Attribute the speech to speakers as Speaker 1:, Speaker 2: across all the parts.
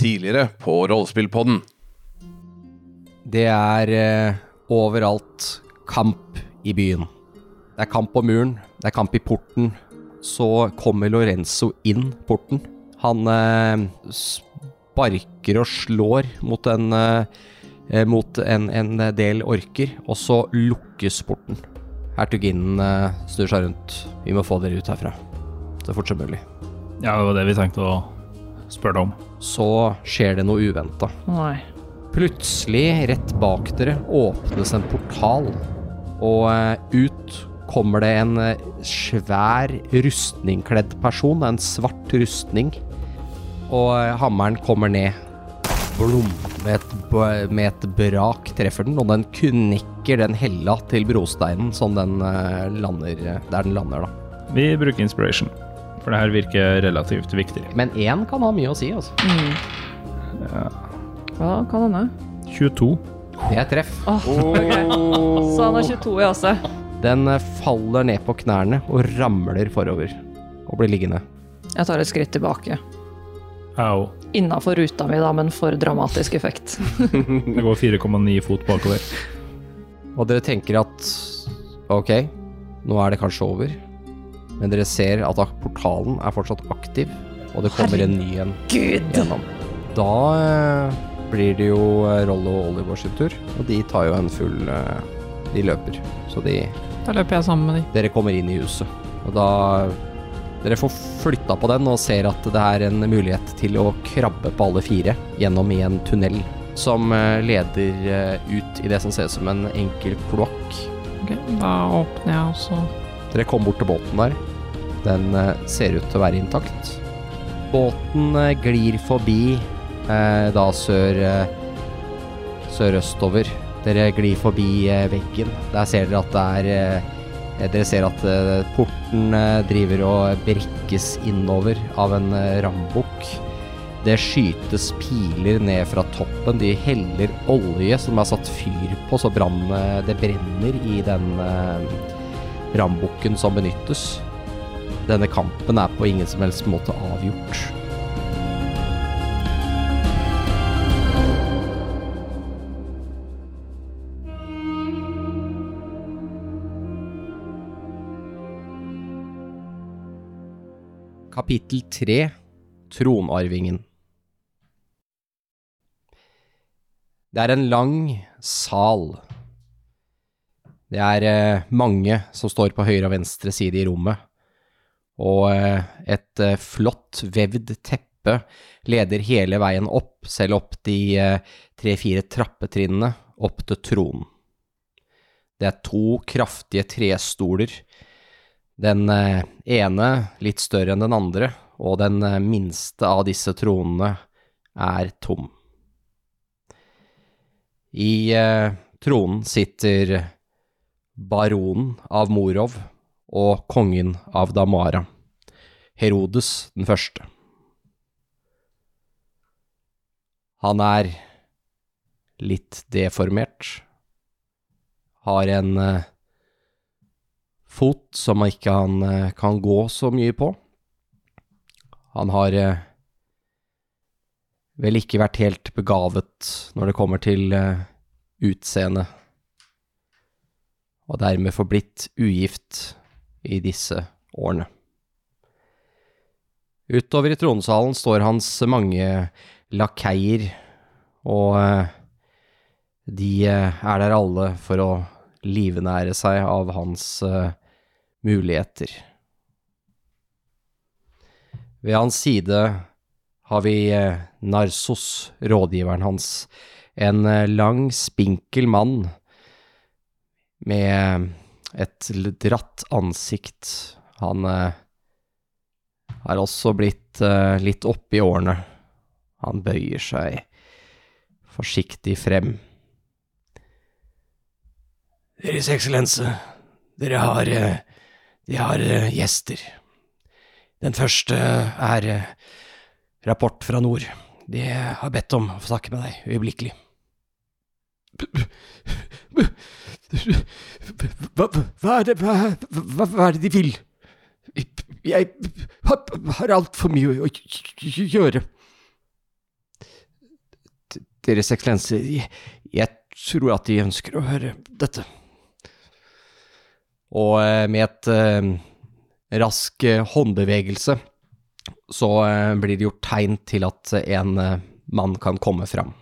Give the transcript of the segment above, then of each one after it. Speaker 1: tidligere på Rollespillpodden.
Speaker 2: Det er eh, overalt kamp i byen. Det er kamp på muren, det er kamp i porten. Så kommer Lorenzo inn porten. Han eh, sparker og slår mot en, eh, mot en, en del orker, og så lukkes porten. Hertuginnen eh, snur seg rundt. Vi må få dere ut herfra så fort som mulig.
Speaker 3: Ja, det var det vi tenkte å spørre deg om.
Speaker 2: Så skjer det noe uventa.
Speaker 4: Nei.
Speaker 2: Plutselig, rett bak dere, åpnes en portal, og eh, ut kommer det en eh, svær rustningkledd person, en svart rustning, og eh, hammeren kommer ned. Blom! Med et, b- med et brak treffer den, og den knekker den hella til brosteinen som den eh, lander der den lander, da.
Speaker 3: Vi bruker inspiration, for det her virker relativt viktig.
Speaker 2: Men én kan ha mye å si, altså.
Speaker 4: Ja, kan hende.
Speaker 3: 22.
Speaker 2: Det er treff.
Speaker 4: Så han har 22 i AC.
Speaker 2: Den eh, faller ned på knærne og ramler forover, og blir liggende.
Speaker 4: Jeg tar et skritt tilbake.
Speaker 3: Au.
Speaker 4: Innafor ruta mi, da, men for dramatisk effekt.
Speaker 3: Det går 4,9 fot bakover.
Speaker 2: Og dere tenker at ok, nå er det kanskje over. Men dere ser at ak- portalen er fortsatt aktiv, og det kommer en ny en
Speaker 4: Gud!
Speaker 2: gjennom. Da eh, blir det jo eh, Rollo og Oliver sin tur, og de tar jo en full eh, De løper. Så de
Speaker 5: Da løper jeg sammen med de.
Speaker 2: Dere kommer inn i huset, og da Dere får flytta på den og ser at det er en mulighet til å krabbe på alle fire gjennom i en tunnel som eh, leder eh, ut i det som ser ut som en enkel kloakk.
Speaker 5: Ok, Da åpner jeg også.
Speaker 2: Dere kom bort til båten der. Den eh, ser ut til å være intakt. Båten eh, glir forbi eh, da sør eh, sørøstover. Dere glir forbi eh, veggen. Der ser dere at det er eh, Dere ser at eh, porten eh, driver og brekkes innover av en eh, rambukk. Det skytes piler ned fra toppen. De heller olje som er satt fyr på, så brann, eh, det brenner i den eh, rambukken som benyttes. Denne kampen er på ingen som helst måte avgjort. Kapittel 3 Tronarvingen Det er en lang sal. Det er eh, mange som står på høyre og venstre side i rommet, og eh, et eh, flott vevd teppe leder hele veien opp, selv opp de eh, tre-fire trappetrinnene opp til tronen. Det er to kraftige trestoler, den eh, ene litt større enn den andre, og den eh, minste av disse tronene er tom. I eh, tronen sitter baronen av Morov og kongen av Damara, Herodes den første. Han er litt deformert, har en eh, fot som ikke han eh, kan gå så mye på. Han har eh, vel ikke vært helt begavet når det kommer til eh, utseende og dermed forblitt ugift i disse årene. Utover i tronsalen står hans mange lakeier, og eh, de eh, er der alle for å livnære seg av hans eh, muligheter. Ved hans side har vi eh, Narsos, rådgiveren hans, en eh, lang, spinkel mann med et l- dratt ansikt. Han eh, har også blitt eh, litt oppe i årene. Han bøyer seg forsiktig frem. Deres eksellense, dere har, eh, de har eh, gjester. Den første er eh, rapport fra nord. De har bedt om å få snakke med deg øyeblikkelig. Hva, hva, er det, hva, hva, hva er det de vil? Jeg har, har altfor mye å gjøre. Deres Eksellenser, jeg, jeg tror at de ønsker å høre dette. Og eh, med et eh, rask eh, håndbevegelse så eh, blir det gjort tegn til at eh, en eh, mann kan komme fram.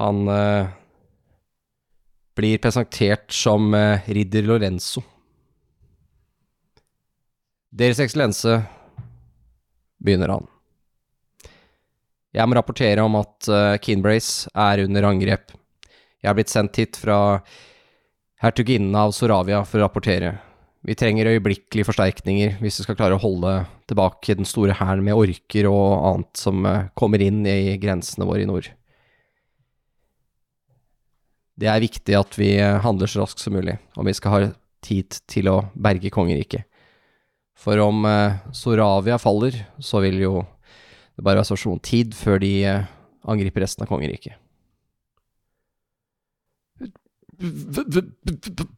Speaker 2: Han eh, blir presentert som eh, ridder Lorenzo. Deres Eksellense, begynner han. Jeg må rapportere om at eh, Kinbrace er under angrep. Jeg er blitt sendt hit fra hertuginnen av Soravia for å rapportere. Vi trenger øyeblikkelige forsterkninger hvis vi skal klare å holde tilbake den store hæren med orker og annet som eh, kommer inn i grensene våre i nord. Det er viktig at vi eh, handler så raskt som mulig, om vi skal ha tid til å berge kongeriket. For om eh, Soravia faller, så vil jo det bare være så sånn tid før de eh, angriper resten av kongeriket.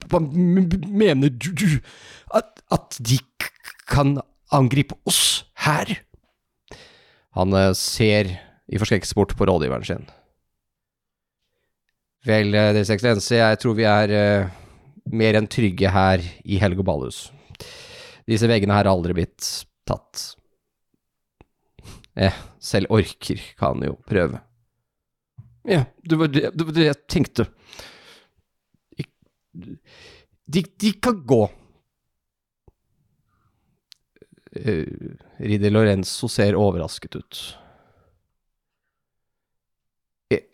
Speaker 2: Hva mener du at, de kan angripe oss her? Han eh, ser i forskrekkelse bort på rådgiveren sin. Vel, eh, Deres Eksellense, jeg tror vi er eh, mer enn trygge her i Helge Balhus. Disse veggene her har aldri blitt tatt. Eh, selv orker kan jo prøve. Ja, det var det, det, var det jeg tenkte. Ik- De, de kan gå. Eh, Ridder Lorenzo ser overrasket ut. Eh,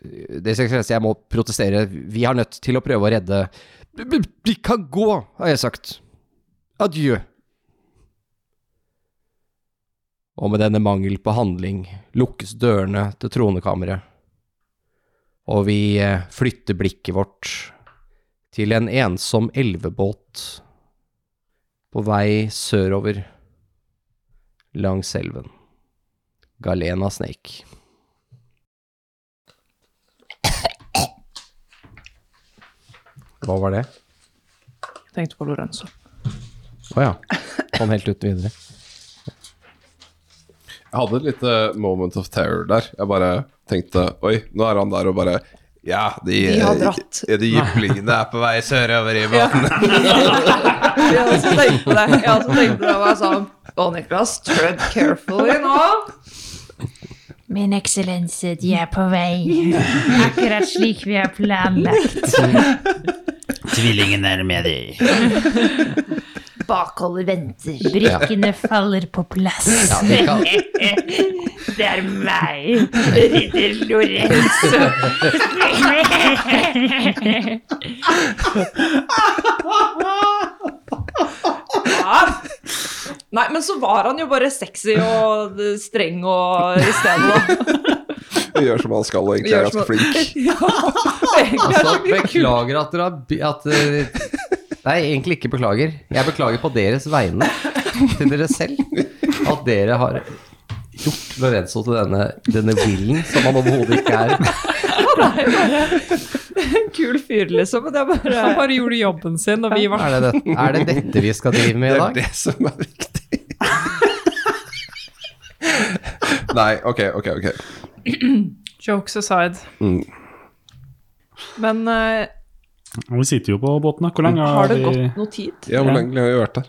Speaker 2: Det skal jeg si, jeg må protestere. Vi er nødt til å prøve å redde De kan gå, har jeg sagt. Adjø. og med denne mangel på handling lukkes dørene til tronekammeret, og vi eh, flytter blikket vårt til en ensom elvebåt på vei sørover langs elven. Galena Snake. Hva var det?
Speaker 4: Tenkte på Lorenzo.
Speaker 2: Å ja. Kom helt uten videre.
Speaker 1: Jeg hadde et lite moment of terror der. Jeg bare tenkte Oi, nå er han der og bare Ja, de,
Speaker 4: De har dratt.
Speaker 1: Ja, de jyplingene er på vei sørover i båten.
Speaker 4: Jeg har også tenkt på det. Jeg har også tenkt på det, og jeg sa Å, Niklas, tread carefully nå.
Speaker 6: Min eksellense, de er på vei. Akkurat slik vi har planlagt.
Speaker 7: Tvillingen er med deg.
Speaker 6: Bakholdet venter. Brikkene faller på plass. Det er meg, ridder Lorenzo.
Speaker 4: Ja. Nei, men så var han jo bare sexy og eh, streng og i stedet.
Speaker 1: Gjør som han skal, og egentlig er ganske flink.
Speaker 4: Ja. Egentlig er
Speaker 2: Altså,
Speaker 4: så mye kult.
Speaker 2: beklager at dere har bi- at, eh, Nei, egentlig ikke beklager. Jeg beklager på deres vegne, til dere selv, at dere har gjort Lorenzo til denne, denne villen som han overhodet ikke er.
Speaker 4: En kul fyr, liksom. Men det er bare
Speaker 5: Han bare gjorde jobben sin, og vi var
Speaker 2: Er det, det, er det dette vi skal drive med
Speaker 1: Det
Speaker 2: i
Speaker 1: er
Speaker 2: dag?
Speaker 1: det som er viktig. Nei, ok, ok, ok.
Speaker 5: Jokes aside.
Speaker 1: Mm.
Speaker 4: Men eh,
Speaker 8: Og vi sitter jo på båten, da. Hvor lenge
Speaker 4: har
Speaker 8: har
Speaker 4: det
Speaker 8: vi
Speaker 4: gått noe tid?
Speaker 1: Ja, hvor lenge har vi vært der?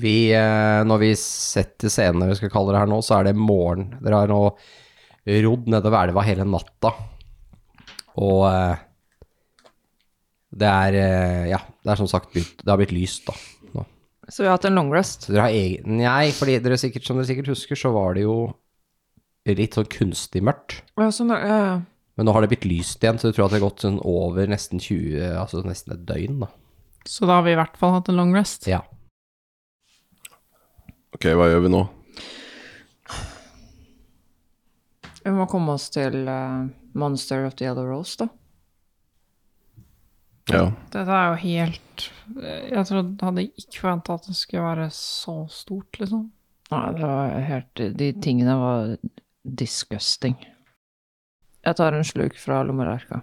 Speaker 2: Vi, eh, når vi setter scenen, vi skal kalle det her nå, så er det morgen. Dere har nå rodd nedover elva hele natta. Og eh, det er eh, Ja, det er som sagt begynt. Det har blitt lyst, da. Nå.
Speaker 4: Så vi har hatt en long rest.
Speaker 2: Så dere har egen Nei, fordi dere sikkert, som dere sikkert husker, så var det jo litt sånn kunstig mørkt.
Speaker 5: Ja, sånn, ja, ja.
Speaker 2: Men nå har det blitt lyst igjen, så du tror at det har gått sånn over nesten 20 Altså nesten et døgn, da.
Speaker 5: Så da har vi i hvert fall hatt en long rest.
Speaker 2: Ja.
Speaker 1: Ok, hva gjør vi nå?
Speaker 4: Vi må komme oss til eh, Monster of the Yellow Rose, da.
Speaker 1: Ja.
Speaker 5: Dette er jo helt eh, Jeg trodde, hadde ikke forventa at det skulle være så stort, liksom.
Speaker 4: Nei, det var helt De tingene var disgusting. Jeg tar en sluk fra lommelerka.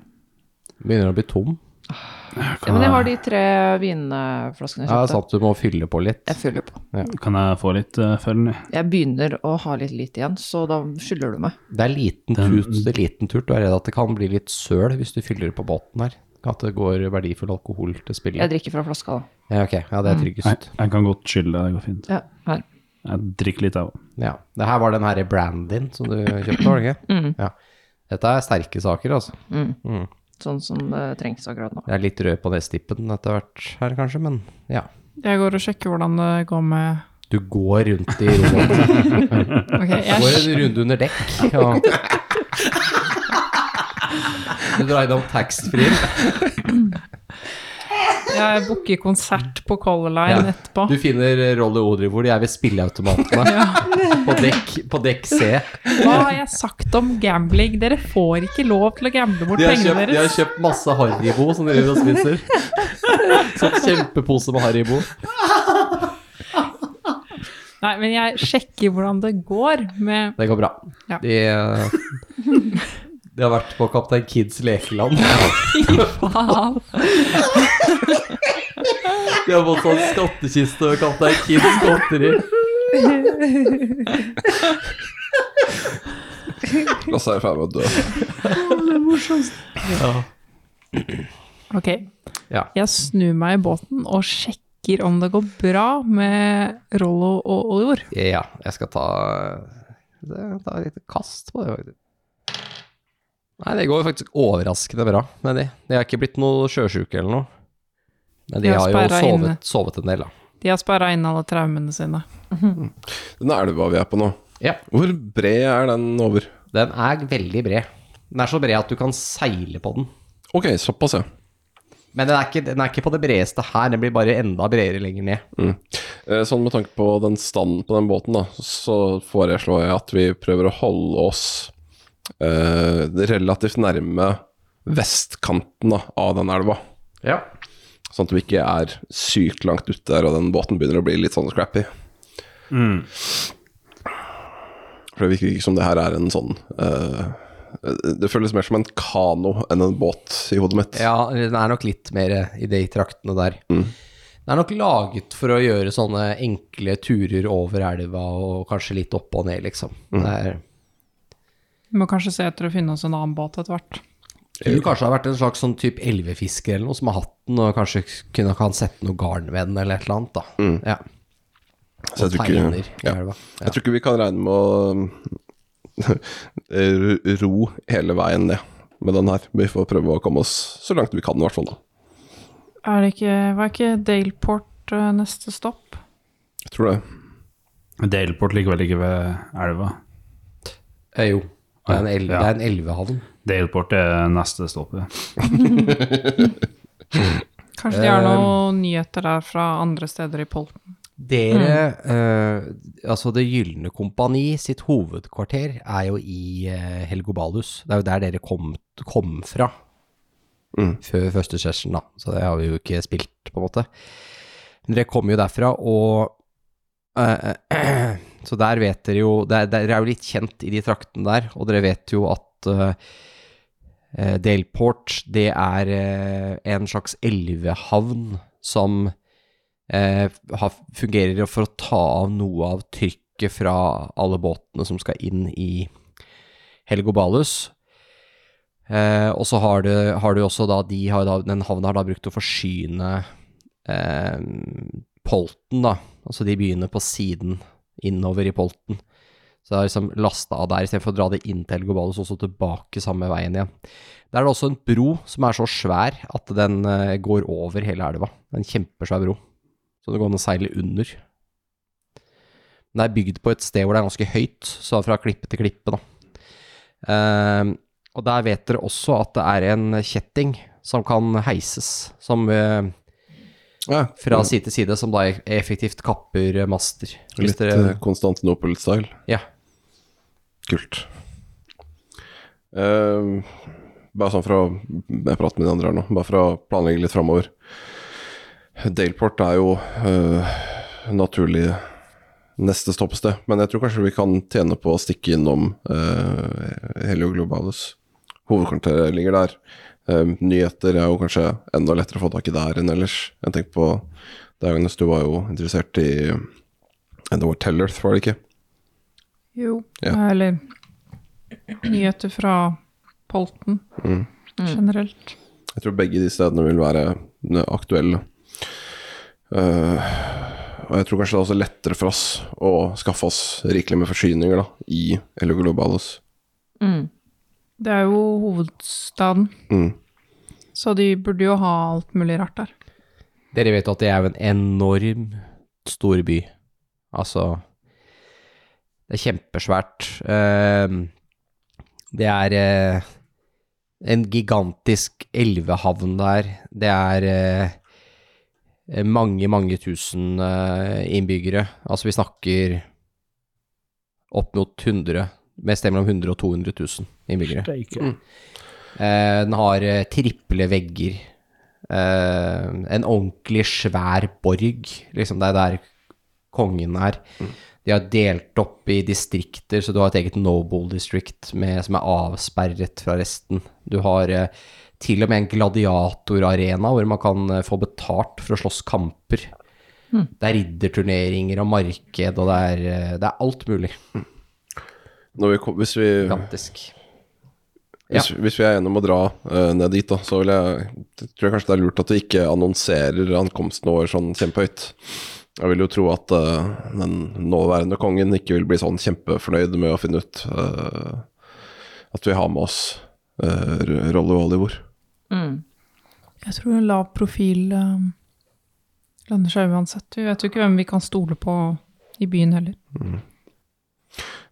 Speaker 2: Begynner å bli tom.
Speaker 5: Ja, men jeg har de tre vinflaskene jeg
Speaker 2: Ja,
Speaker 5: kjøpte.
Speaker 2: sant, du må fylle på litt.
Speaker 5: Jeg fyller på.
Speaker 8: Kan jeg få litt
Speaker 3: eh,
Speaker 8: uh, for den?
Speaker 5: Jeg begynner å ha litt lite igjen, så da skylder du meg.
Speaker 2: Det er liten
Speaker 8: Den-
Speaker 2: tut, det er liten turt. Du er redd at det kan bli litt søl hvis du fyller på båten her. At det går verdifull alkohol til spille.
Speaker 5: Jeg drikker fra flaska, da.
Speaker 2: Ja, ok. Ja, det er
Speaker 8: Jeg,
Speaker 9: Mm.
Speaker 2: tryggest.
Speaker 8: jeg kan godt skylde deg, det går fint.
Speaker 5: Ja, her.
Speaker 8: Jeg drikker litt, jeg òg.
Speaker 2: Ja. Det her var den her brandin som du kjøpte, var det ikke?
Speaker 5: Mm.
Speaker 2: Ja. Dette er sterke saker, altså.
Speaker 5: Sånn som det trengs akkurat nå.
Speaker 2: Jeg er litt rød på nestippen etter hvert her, kanskje, men ja.
Speaker 5: Jeg går og sjekker hvordan det går med
Speaker 2: Du går rundt i rommet.
Speaker 5: Ok,
Speaker 2: Du
Speaker 5: jeg,
Speaker 2: går en runde under dekk. Og... Du drar innom taxfree.
Speaker 5: jeg booker konsert på Color Line
Speaker 2: Ja.
Speaker 5: etterpå.
Speaker 2: Du finner eh, Rolly Odry hvor de er ved spilleautomatene. På dekk, på dekk C.
Speaker 5: Hva har jeg sagt om gambling? Dere får ikke lov til å gamble bort
Speaker 2: De har,
Speaker 5: pengene
Speaker 2: kjøpt, de har
Speaker 5: deres.
Speaker 2: kjøpt masse Haribo som de driver og spiser. Sånn kjempepose med Haribo.
Speaker 5: Nei, men jeg sjekker hvordan det går med
Speaker 2: Det går bra.
Speaker 5: Ja.
Speaker 2: De, eh, de har vært på Kaptein Kids lekeland.
Speaker 5: faen.
Speaker 2: De har fått sånn skattkiste med Kaptein Kids godteri.
Speaker 1: Og så er jeg ferdig med å dø.
Speaker 5: Ok,
Speaker 2: Ja.
Speaker 5: jeg snur meg i båten og sjekker om det går bra med Rollo og Oliver.
Speaker 2: Ja, jeg skal ta det, ta et lite kast på det. faktisk. Nei, det går faktisk overraskende bra med de. De har ikke blitt noe sjøsjuke eller noe. Men de
Speaker 5: De har
Speaker 2: har jo
Speaker 5: sperret inne.
Speaker 2: sovet, sovet en del, da.
Speaker 5: De har sperra inn alle traumene sine.
Speaker 1: Den elva vi er på nå,
Speaker 2: Ja.
Speaker 1: hvor bred er den over?
Speaker 2: Den er veldig bred. Den er så bred at du kan seile på den.
Speaker 1: Ok, såpass, ja.
Speaker 2: Men den er ikke, den er ikke på det bredeste her, den blir bare enda bredere lenger ned.
Speaker 1: Mm. Eh, Sånn med tanke på den standen på den båten, da, så foreslår jeg at vi prøver å holde oss eh, relativt nærme vestkanten da, av den elva.
Speaker 2: Ja.
Speaker 1: Sånn at vi ikke er sykt langt ute der, og den båten begynner å bli litt sånn scrappy. For det virker ikke som det her er en sånn eh, Det føles mer som en kano enn en båt i hodet mitt.
Speaker 2: den er nok litt mer i de traktene der.
Speaker 1: Mm.
Speaker 2: Den er nok laget for å gjøre sånne enkle turer over elva og kanskje litt opp og ned, liksom.
Speaker 1: Mm.
Speaker 2: Det er,
Speaker 5: Vi må kanskje se etter å finne oss en annen båt etter hvert.
Speaker 2: tror du kanskje det har vært en slags sånn type elvefisker eller noe som har hatt den, og kanskje kunne kan sette noe garn ved den eller et eller annet, da. Ja.
Speaker 1: Mm. Så
Speaker 2: Og
Speaker 1: jeg tror ikke-
Speaker 2: teiner i
Speaker 1: ja.
Speaker 2: elva. Ja.
Speaker 1: Jeg tror ikke vi kan regne med å eh, ro hele veien ned med den her. Vi får prøve å komme oss så langt vi kan, i hvert fall. da.
Speaker 5: Er det ikke, Var ikke Daleport eh, neste stopp?
Speaker 1: Jeg tror det.
Speaker 8: Daleport ligger vel ikke ved elva.
Speaker 2: Eh, jo, det er en, el
Speaker 8: Ja.
Speaker 2: det er en elvehavn.
Speaker 8: Daleport er neste stopp. ja.
Speaker 5: Kanskje de har noen nyheter der fra andre steder i Polten.
Speaker 2: Dere, eh, altså Det Gylne Kompani sitt hovedkvarter er jo i eh, Helgobalus. Det er jo der dere kom, kom fra
Speaker 1: Mm.
Speaker 2: før første session, da. Så det har vi jo ikke spilt, på en måte. Men dere kommer jo derfra, og eh, eh, Så der vet dere jo der- der- Dere er jo litt kjent i de traktene der, og dere vet jo at eh, eh, Delport, det er eh, en slags elvehavn som eh, har, fungerer for å ta av noe av trykket fra alle båtene som skal inn i Helgobalus. Eh, og så har du, har du også da, de har da, den havna har da brukt å forsyne eh, Polten, da. Altså de byene på siden innover i Polten. Så det er liksom lasta av der, istedenfor å dra det inn til Helgobalus og så tilbake samme veien igjen. Der er det også en bro som er så svær at den eh, går over hele elva. Det er En kjempesvær bro. Så det går an å seile under. Den er bygd på et sted hvor det er ganske høyt, så fra klippe til klippe, da. Ehm, og der vet dere også at det er en kjetting som kan heises, som eh,
Speaker 1: Ja,
Speaker 2: fra side til side, som da e-, effektivt kapper eh, master. Hvis
Speaker 1: Litt
Speaker 2: dere
Speaker 1: eh, Konstantinopel-style.
Speaker 2: Ja.
Speaker 1: Kult. Eh, bare sånn for å Jeg prater med de andre her nå, bare for å planlegge litt framover. Daleport er jo eh, naturlig neste stoppested, men jeg tror kanskje vi kan tjene på å stikke innom uh, Helio Globalus. eh, Hovedkvarteret ligger der. Eh, nyheter er jo kanskje enda lettere å få tak i der enn ellers. Jeg tenker på Diogenes, du var jo interessert i Det var Tellerth, var det ikke?
Speaker 5: Jo,
Speaker 1: Ja.
Speaker 5: eller nyheter fra Polten Mm. generelt.
Speaker 1: Jeg tror begge de stedene vil være eh, aktuelle. Eh, og jeg tror kanskje det er også lettere for oss å skaffe oss rikelig med forsyninger da, i Elio Globalos.
Speaker 5: Mm. Det er jo hovedstaden,
Speaker 1: Mm.
Speaker 5: så de burde jo ha alt mulig rart der.
Speaker 2: Dere vet at det er jo en enorm stor by. Altså Det er kjempesvært. Ehm, Det er eh, en gigantisk elvehavn der. Det er eh, mange, mange tusen eh, innbyggere. Altså, vi snakker opp mot 100, med sted mellom 100 og 200 000 innbyggere. Eh, den har eh, triple vegger. Eh, en ordentlig svær borg, liksom. Det er der kongen er. De har delt opp i distrikter, så du har et eget noble district med, som er avsperret fra resten. Du har eh, til og med en gladiatorarena hvor man kan eh, få betalt for å slåss kamper. Det er ridderturneringer og marked, og det er, eh, det er alt mulig.
Speaker 1: Når vi kom, hvis, vi,
Speaker 2: Gigantisk.
Speaker 1: hvis, hvis vi er enige om å dra eh, ned dit, da, så vil jeg, tror jeg kanskje det er lurt at vi ikke annonserer ankomsten vår sånn kjempehøyt. Jeg vil jo tro at eh, den nåværende kongen ikke vil bli sånn kjempefornøyd med å finne ut eh, at vi har med oss uh, Rolly Olivor.
Speaker 5: Jeg tror en lav profil eh, lønner seg uansett. Vi vet jo ikke hvem vi kan stole på i byen heller.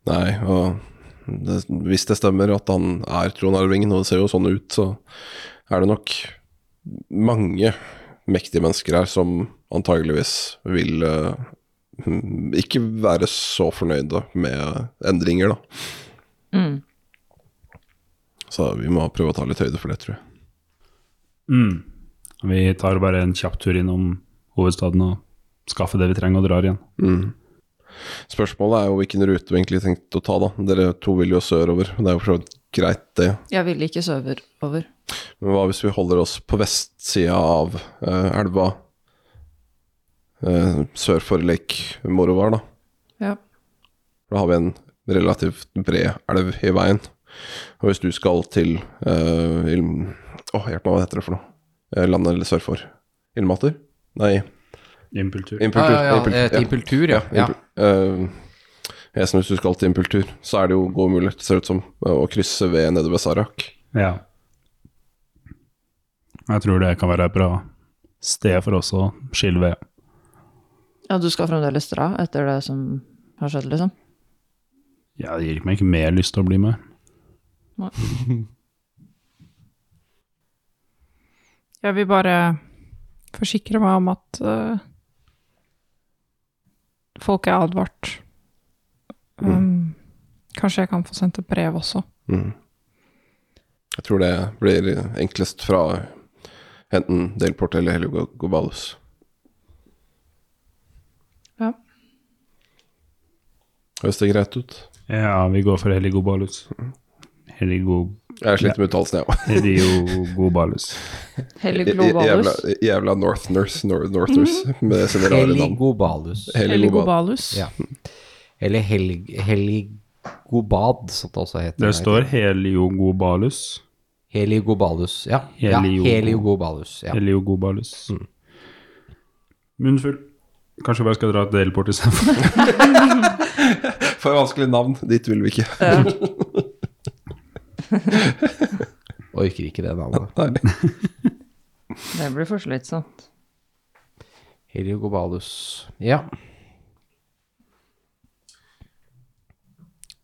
Speaker 1: Nei, og det, hvis det stemmer at han er tronarvingen, og det ser jo sånn ut, så er det nok mange mektige mennesker her som antageligvis vil eh, ikke være så fornøyde med endringer, da. Så vi må prøve å ta litt høyde for det, tror jeg.
Speaker 8: Mm. Vi tar bare en kjapp tur innom hovedstaden og skaffer det vi trenger, og drar igjen.
Speaker 1: Mm. Spørsmålet er jo hvilken rute vi egentlig tenkte å ta, da. Dere to vil jo sørover. Det er jo for så vidt greit, det.
Speaker 7: Jeg ville ikke søve over.
Speaker 1: Men hva hvis vi holder oss på vestsida av eh, elva? eh, sør for Lake Morovar, da.
Speaker 5: Ja.
Speaker 1: Da har vi en relativt bred elv i veien. Og hvis du skal til eh, Il- Å, hjelp meg, hva heter det for noe? Eh, landet eller sør for? Ildmater? Nei,
Speaker 8: Impultur.
Speaker 1: Impultur.
Speaker 2: Ja, ja, ja,
Speaker 1: Impultur,
Speaker 2: eh, til Impultur, ja.
Speaker 1: ja. impul- eh, Esen, hvis du skal til impultur, så er det jo gode muligheter, ser det ut som, å krysse ved nede ved Sarak.
Speaker 8: Ja. Jeg tror det kan være et bra sted for oss å skille ved.
Speaker 7: Ja, du skal fremdeles dra etter det som har skjedd, liksom?
Speaker 8: Ja, det gir meg ikke mer lyst til å bli med.
Speaker 5: Jeg vil bare forsikre meg om at eh, folk er advart. Um, Kanskje jeg kan få sendt et brev også.
Speaker 1: Mm. Jeg tror det blir enklest fra enten Delport eller Helio Gobalus.
Speaker 5: Ja.
Speaker 1: Høres det greit ut?
Speaker 8: Ja, vi går for Heligobalus. Heligo...
Speaker 1: Jeg sliter med uttalelsen, jeg òg.
Speaker 8: Heliogobalus.
Speaker 7: Hellig
Speaker 1: Jævla,
Speaker 7: globalus.
Speaker 1: jævla Northners, nor Northers med sine rare navn.
Speaker 2: Heligobalus.
Speaker 1: Helio Gobal-
Speaker 5: Heligobalus.
Speaker 2: Ja. Eller helg, Heligobad, som det også heter.
Speaker 8: Det står Heliogobalus.
Speaker 2: Heligobalus, ja. ja
Speaker 8: Helio-
Speaker 2: Heliogobalus, ja.
Speaker 8: Heliogobalus. Munnfull. Kanskje vi bare skal dra til Delport istedenfor.
Speaker 1: For vanskelig navn, dit vil vi ikke.
Speaker 2: Orker ikke det navnet.
Speaker 7: Det blir for slitsomt.
Speaker 2: Heliogobalus, ja.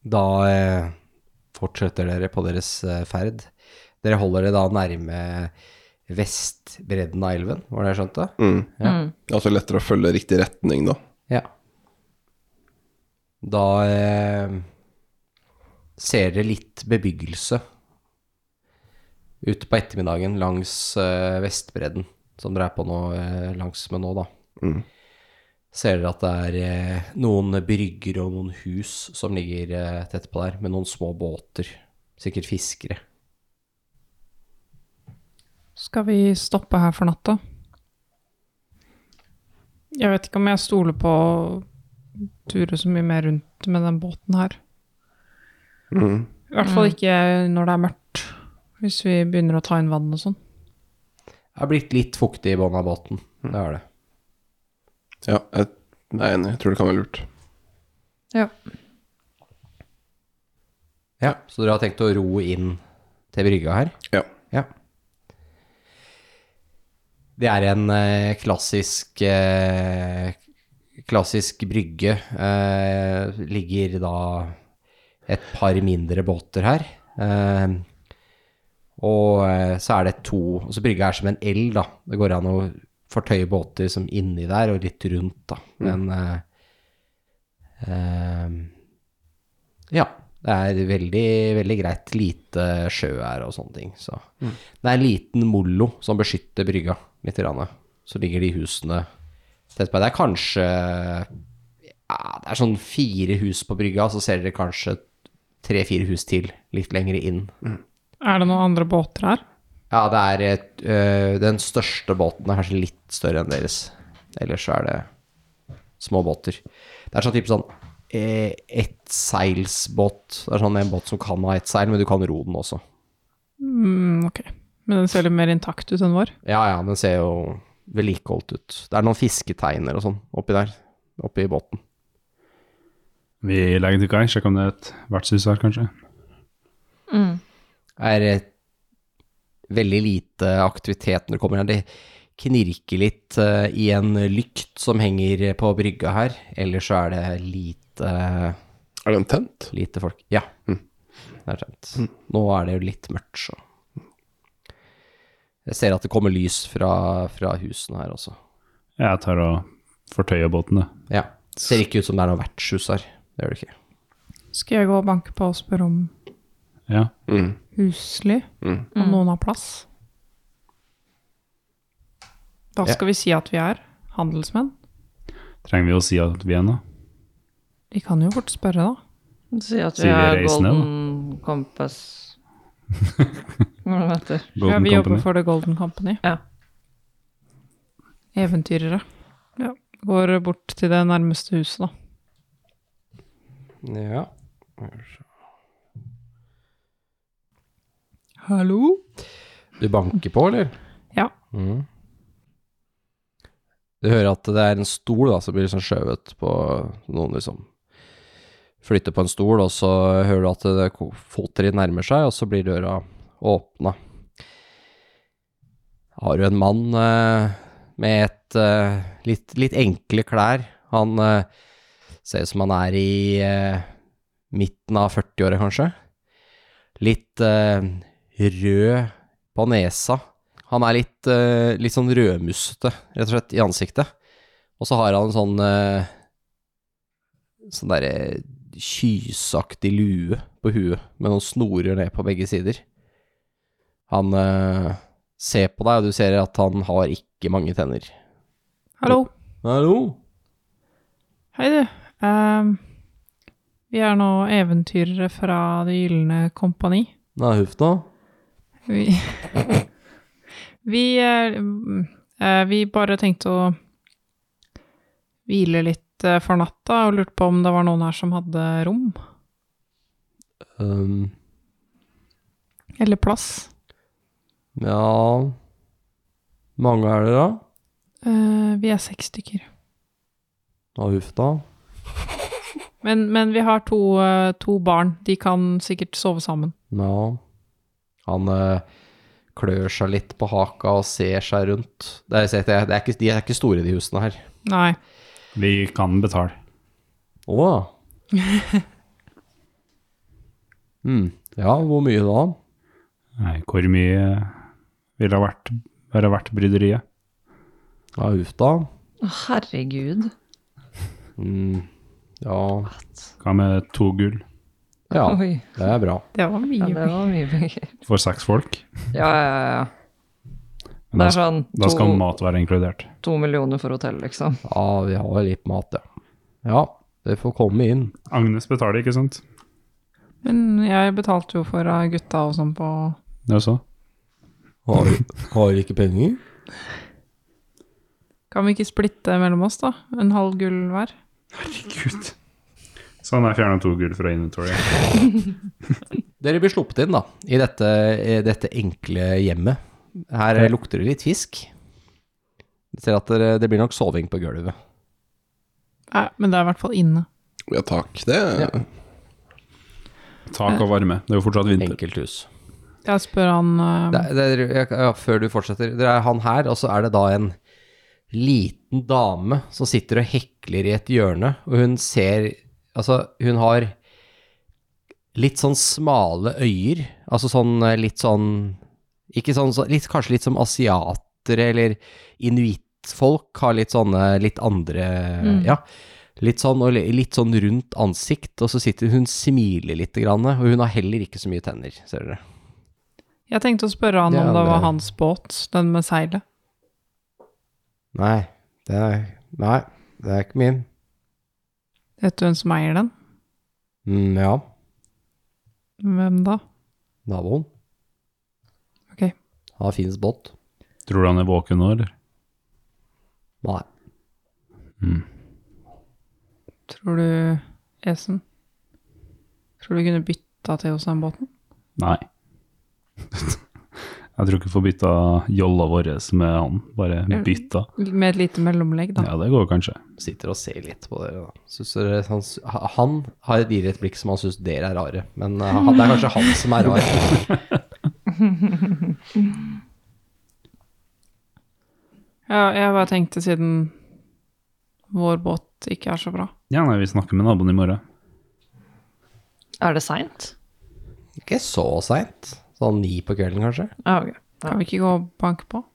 Speaker 2: Da eh, fortsetter dere på deres eh, ferd. Dere holder det da nærme vestbredden av elven, var det jeg skjønte?
Speaker 1: Altså lettere å følge riktig retning, da.
Speaker 2: Ja. Da eh, ser dere litt bebyggelse ute på ettermiddagen langs eh, Vestbredden, som dere er på nå, eh, langs med nå, da. Ser dere at det er eh, noen brygger og noen hus som ligger eh, tett på der, med noen små båter. Sikkert fiskere.
Speaker 5: Skal vi stoppe her for natta? Jeg vet ikke om jeg stoler på å ture så mye mer rundt med den båten her.
Speaker 1: Mhm.
Speaker 5: I hvert fall ikke når det er mørkt, hvis vi begynner å ta inn vann og sånn.
Speaker 2: Det har blitt litt fuktig i bånn av båten. Det har det.
Speaker 1: Ja, jeg jeg er enig. Jeg tror det kan være lurt.
Speaker 2: Ja, Så dere har tenkt å ro inn til brygga her?
Speaker 1: Ja.
Speaker 2: Ja. Det er en eh, klassisk eh, Klassisk brygge. Eh, ligger da et par mindre båter her. Eh, og eh, så er det to Og så brygga er som en L, da. Det går an å fortøye båter som inni der og litt rundt, da. Men eh, eh, ja. Det er veldig, veldig greit lite sjø her og sånne ting. Så. Det er en liten mollo som beskytter brygga litt. Grann. Så ligger de husene tett på. Det er kanskje ja, Det er sånn fire hus på brygga, så ser dere kanskje tre-fire hus til litt lenger inn.
Speaker 5: Er det noen andre båter her?
Speaker 2: Ja, det er et, øh, Den største båten er kanskje litt større enn deres. Ellers så er det små båter. Det er sånn type sånn eh, ettseilsbåt. Det er sånn en båt som kan ha ett seil, men du kan ro den også.
Speaker 5: Mm, ok. Men den ser litt mer intakt ut enn vår.
Speaker 2: Ja, ja, den ser jo vedlikeholdt ut. Det er noen fisketeiner og sånn oppi der. Oppi båten.
Speaker 8: Vi legger til kai, sjekker om det er et vertshus her, kanskje.
Speaker 2: Det er eh, veldig lite aktivitet når du kommer her. Det knirker litt eh, i en lykt som henger på brygga her. Ellers så er det lite
Speaker 1: Er det en tent?
Speaker 2: Lite folk. Ja. Det er sant. Nå er det jo litt mørkt, så. Jeg ser at det kommer lys fra, fra husene her også.
Speaker 8: Jeg tar og fortøyer båten, da.
Speaker 2: Ja. Det ser ikke ut som det er noe vertshus her. Det gjør det ikke.
Speaker 5: Skal jeg gå og banke på og spørre om
Speaker 8: Ja.
Speaker 1: Mm.
Speaker 5: husly?
Speaker 8: Mm.
Speaker 5: Om noen har plass? Da skal vi si at vi er handelsmenn.
Speaker 8: Trenger vi å si at vi er nå?
Speaker 5: Vi kan jo fort spørre, da.
Speaker 7: Si at vi
Speaker 8: Sier vi
Speaker 7: er
Speaker 8: reisende,
Speaker 7: Golden Compass. Hvordan heter det?
Speaker 5: ja,
Speaker 8: Golden
Speaker 5: vi jobber
Speaker 8: Company?
Speaker 5: for The Golden Company.
Speaker 7: Ja.
Speaker 5: Eventyrere. Ja. Går bort til det nærmeste huset, da.
Speaker 2: Ja.
Speaker 5: Hallo?
Speaker 2: Du banker på, eller?
Speaker 5: Ja.
Speaker 2: Mm. Du hører at det er en stol da, som blir liksom skjøvet på noen liksom flytter på en stol, og så hører du at det er ko- foter de nærmer seg, og så blir døra åpna. Har du en mann eh, med et eh, litt, litt enkle klær. Han eh, ser ut som han er i eh, midten av 40-åra, kanskje. Litt eh, rød på nesa. Han er litt, eh, litt sånn rødmussete, rett og slett, i ansiktet. Og så har han en sånn eh, Sånn derre kysaktig lue på huet, med noen snorer ned på begge sider. Han eh, ser på deg, og du ser at han har ikke mange tenner.
Speaker 5: Hallo.
Speaker 2: Hallo?
Speaker 5: Hei, du. Ehm, vi er nå eventyrere fra Det gylne kompani.
Speaker 2: Nei, huff nå.
Speaker 5: Vi, vi, eh, mm, eh, vi bare tenkte å hvile litt eh, for natta, og lurte på om det var noen her som hadde rom
Speaker 2: Um,
Speaker 5: eller plass.
Speaker 2: ja Mange er dere, da?
Speaker 5: Eh, vi er seks stykker.
Speaker 2: Ja, huff da.
Speaker 5: Men, men vi har to, eh, to barn. De kan sikkert sove sammen.
Speaker 2: Ja. Han eh, klør seg litt på haka og ser seg rundt. Det er, ser jeg- det er, ikke, de er ikke store, de husene her.
Speaker 5: Nei.
Speaker 8: Vi kan betale.
Speaker 2: Å ja. mm. Ja, hvor mye da?
Speaker 8: Nei, hvor mye ville det vært, være verdt bryderiet?
Speaker 2: Ja, huff da.
Speaker 7: Å, herregud.
Speaker 2: Mm. Ja.
Speaker 8: Hva med to gull
Speaker 2: ja,
Speaker 7: Oi.
Speaker 2: det er bra.
Speaker 5: Det var
Speaker 7: Ja,
Speaker 5: mye.
Speaker 7: det var mye penger.
Speaker 8: for seks folk?
Speaker 7: Ja, ja, ja, ja. Det
Speaker 8: Men da,
Speaker 7: er sånn
Speaker 8: da skal
Speaker 7: to,
Speaker 8: mat være inkludert.
Speaker 7: to millioner for hotell, liksom.
Speaker 2: Ja, vi har litt mat, ja. Ja, det får komme inn.
Speaker 8: Agnes betaler, ikke sant?
Speaker 5: Men jeg betalte jo for eh, gutta og sånn på
Speaker 8: Det også.
Speaker 10: Har, har ikke penger?
Speaker 5: Kan vi ikke splitte mellom oss, da? En halv gull hver?
Speaker 8: Gud. Sånn, jeg fjerna to gull fra inventory.
Speaker 2: Dere blir sluppet inn, da, i dette, i dette enkle hjemmet. Her eh, lukter det litt fisk. Jeg ser at dere, det blir nok soving på gulvet.
Speaker 5: Nei, men det er i hvert fall inne.
Speaker 1: Ja, takk. Det
Speaker 8: Tak og varme. Det er jo fortsatt vinter.
Speaker 2: Enkelt hus.
Speaker 5: Jeg spør han eh,
Speaker 2: Det, er- det, er- jeg- ja, før du fortsetter, det er han her, og så er det da en liten dame som sitter og hekler i et hjørne, og hun ser Altså, hun har litt sånn smale øyer, altså sånn eh, litt sånn Ikke sånn, så- litt, kanskje litt som asiatere eller inuittfolk har litt sånne litt andre Ja. Litt sånn, og li- litt sånn rundt ansikt, og så sitter hun smiler litt, grann, og hun har heller ikke så mye tenner, ser dere.
Speaker 5: Jeg tenkte å spørre han
Speaker 2: Det er
Speaker 5: om det
Speaker 2: andre-
Speaker 5: var hans båt, den med seilet.
Speaker 2: Nei, det er, nei, det er ikke min.
Speaker 5: Vet du hvem som eier den?
Speaker 2: Mm, ja,
Speaker 5: Hvem da?
Speaker 2: naboen.
Speaker 5: Ok.
Speaker 2: Han har fin båt.
Speaker 8: Tror du han er våken nå, eller?
Speaker 2: Nei.
Speaker 5: Tror du Esen? Tror du kunne bytta til oss den båten?
Speaker 8: Nei. Jeg tror ikke vi får bytta jolla vår med han. Bare bytta.
Speaker 5: Med et lite mellomlegg, da.
Speaker 8: Ja, det går kanskje.
Speaker 2: Sitter og ser litt på dere, da. Synes dere han, s- ha- han har gir et blikk som han syns dere er rare, men eh, han, det er kanskje han som er rar.
Speaker 5: Ja, jeg bare tenkte siden vår båt ikke er så bra.
Speaker 8: Ja, nei, vi snakker med naboen i morgen.
Speaker 7: Er det seint?
Speaker 2: Ikke så seint. Sånn ni på kvelden, kanskje.
Speaker 7: Ja, ok.
Speaker 5: Kan vi ikke gå og banke på?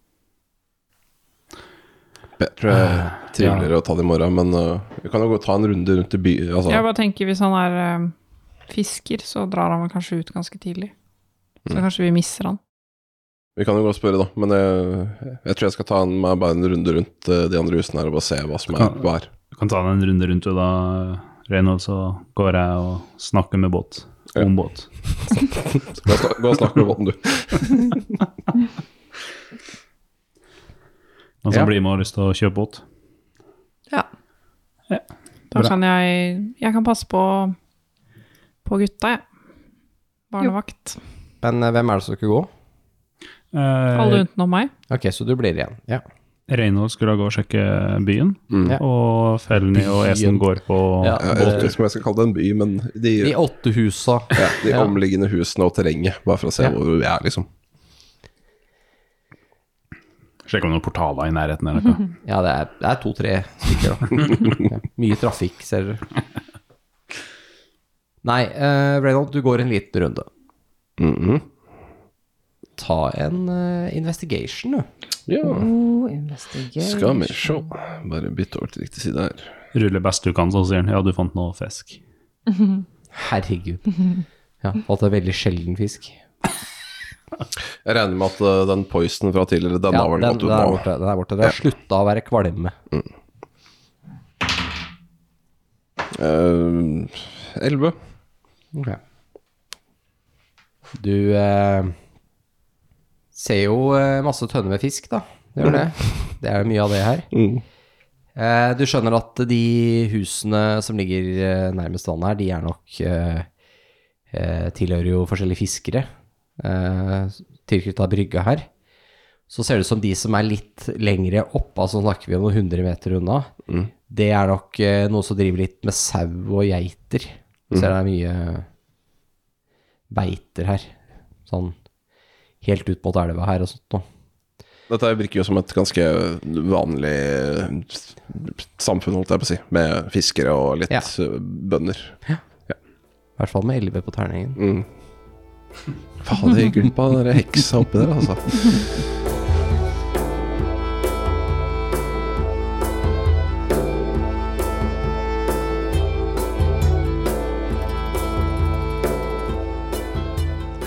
Speaker 1: jeg tror
Speaker 2: Ah,
Speaker 1: jeg er triveligere å ta det i morgen, men øh, vi kan jo gå ta en runde rundt i byen. Altså,
Speaker 5: Jeg bare tenker hvis han er eh, fisker, så drar han vel kanskje ut ganske tidlig.
Speaker 8: Mm.
Speaker 5: Så kanskje vi misser han.
Speaker 1: Vi kan jo gå og spørre, da, men jeg, jeg tror jeg skal ta en, meg bare en runde rundt øh, de andre husene her og bare se hva som er
Speaker 8: Kan-
Speaker 1: hva er.
Speaker 8: Du kan ta deg en runde rundt du da, Reynold, så går jeg og snakker med båt. Om båt.
Speaker 1: Gå og snak- gå og snakk med båten, du.
Speaker 8: Noen som
Speaker 2: Ja.
Speaker 8: blir med og har lyst til å kjøpe båt.
Speaker 5: Da
Speaker 8: Bra.
Speaker 5: kan jeg Jeg kan passe på på gutta, jeg. Barnevakt.
Speaker 2: Men eh, hvem er det som skal gå?
Speaker 8: Eh,
Speaker 5: Alle utenom meg.
Speaker 2: Ok, så du blir igjen. Ja.
Speaker 8: Reynold skulle da gå og sjekke byen,
Speaker 1: Mm.
Speaker 2: Ja.
Speaker 8: og Felny og
Speaker 2: Byen.
Speaker 8: Esen går på
Speaker 2: Ja.
Speaker 1: Jeg vet ikke om liksom, jeg skal kalle det en by, men de,
Speaker 2: Eh, De åtte husa.
Speaker 1: ja, de
Speaker 2: Ja.
Speaker 1: omliggende husene og terrenget, bare for å se
Speaker 2: Ja.
Speaker 1: hvor vi er, liksom.
Speaker 8: Sjekke om det er noen portaler i nærheten eller noe.
Speaker 2: Ja, det er, det er to-tre stykker, da. Ja, mye trafikk, ser dere. Nei, eh, Reynold, du går en liten runde.
Speaker 1: Mhm.
Speaker 2: Ta en eh, investigation, du.
Speaker 1: Ja,
Speaker 7: Oh, investigate.
Speaker 1: skal vi se. Bare bytte over til riktig side her.
Speaker 8: Ruller best du kan, så sier han ja, du fant noe fisk.
Speaker 2: Herregud. Ja, falt en veldig sjelden fisk.
Speaker 1: Jeg regner med at øh, den poisonen fra tidligere, den
Speaker 2: Ja,
Speaker 1: har vel
Speaker 2: den,
Speaker 1: gått
Speaker 2: den
Speaker 1: ut
Speaker 2: er
Speaker 1: nå.
Speaker 2: borte. Den er borte. Dere har slutta å være kvalme.
Speaker 1: Eh, 11.
Speaker 2: Du eh, ser jo eh, masse tønner med fisk, da. Det gjør det. Det er jo mye av det her. Eh, du skjønner at de husene som ligger eh, nærmest vannet her, de er nok eh, eh, Tilhører jo forskjellige fiskere eh, tilknytta brygga her. Så ser det ut som de som er litt lengre opp, altså snakker vi om noen hundre meter unna, det er nok eh, noen som driver litt med sau og geiter. Så det er mye beiter her. Sånn helt ut mot elva her og sånt noe.
Speaker 1: Dette virker jo som et ganske vanlig eh, samfunn, holdt jeg på å si, med fiskere og litt eh,
Speaker 2: Ja.
Speaker 1: bønder.
Speaker 2: I hvert fall med elleve på terningen.
Speaker 1: Mm. Fader, jeg glemte den der heksa oppi der, altså.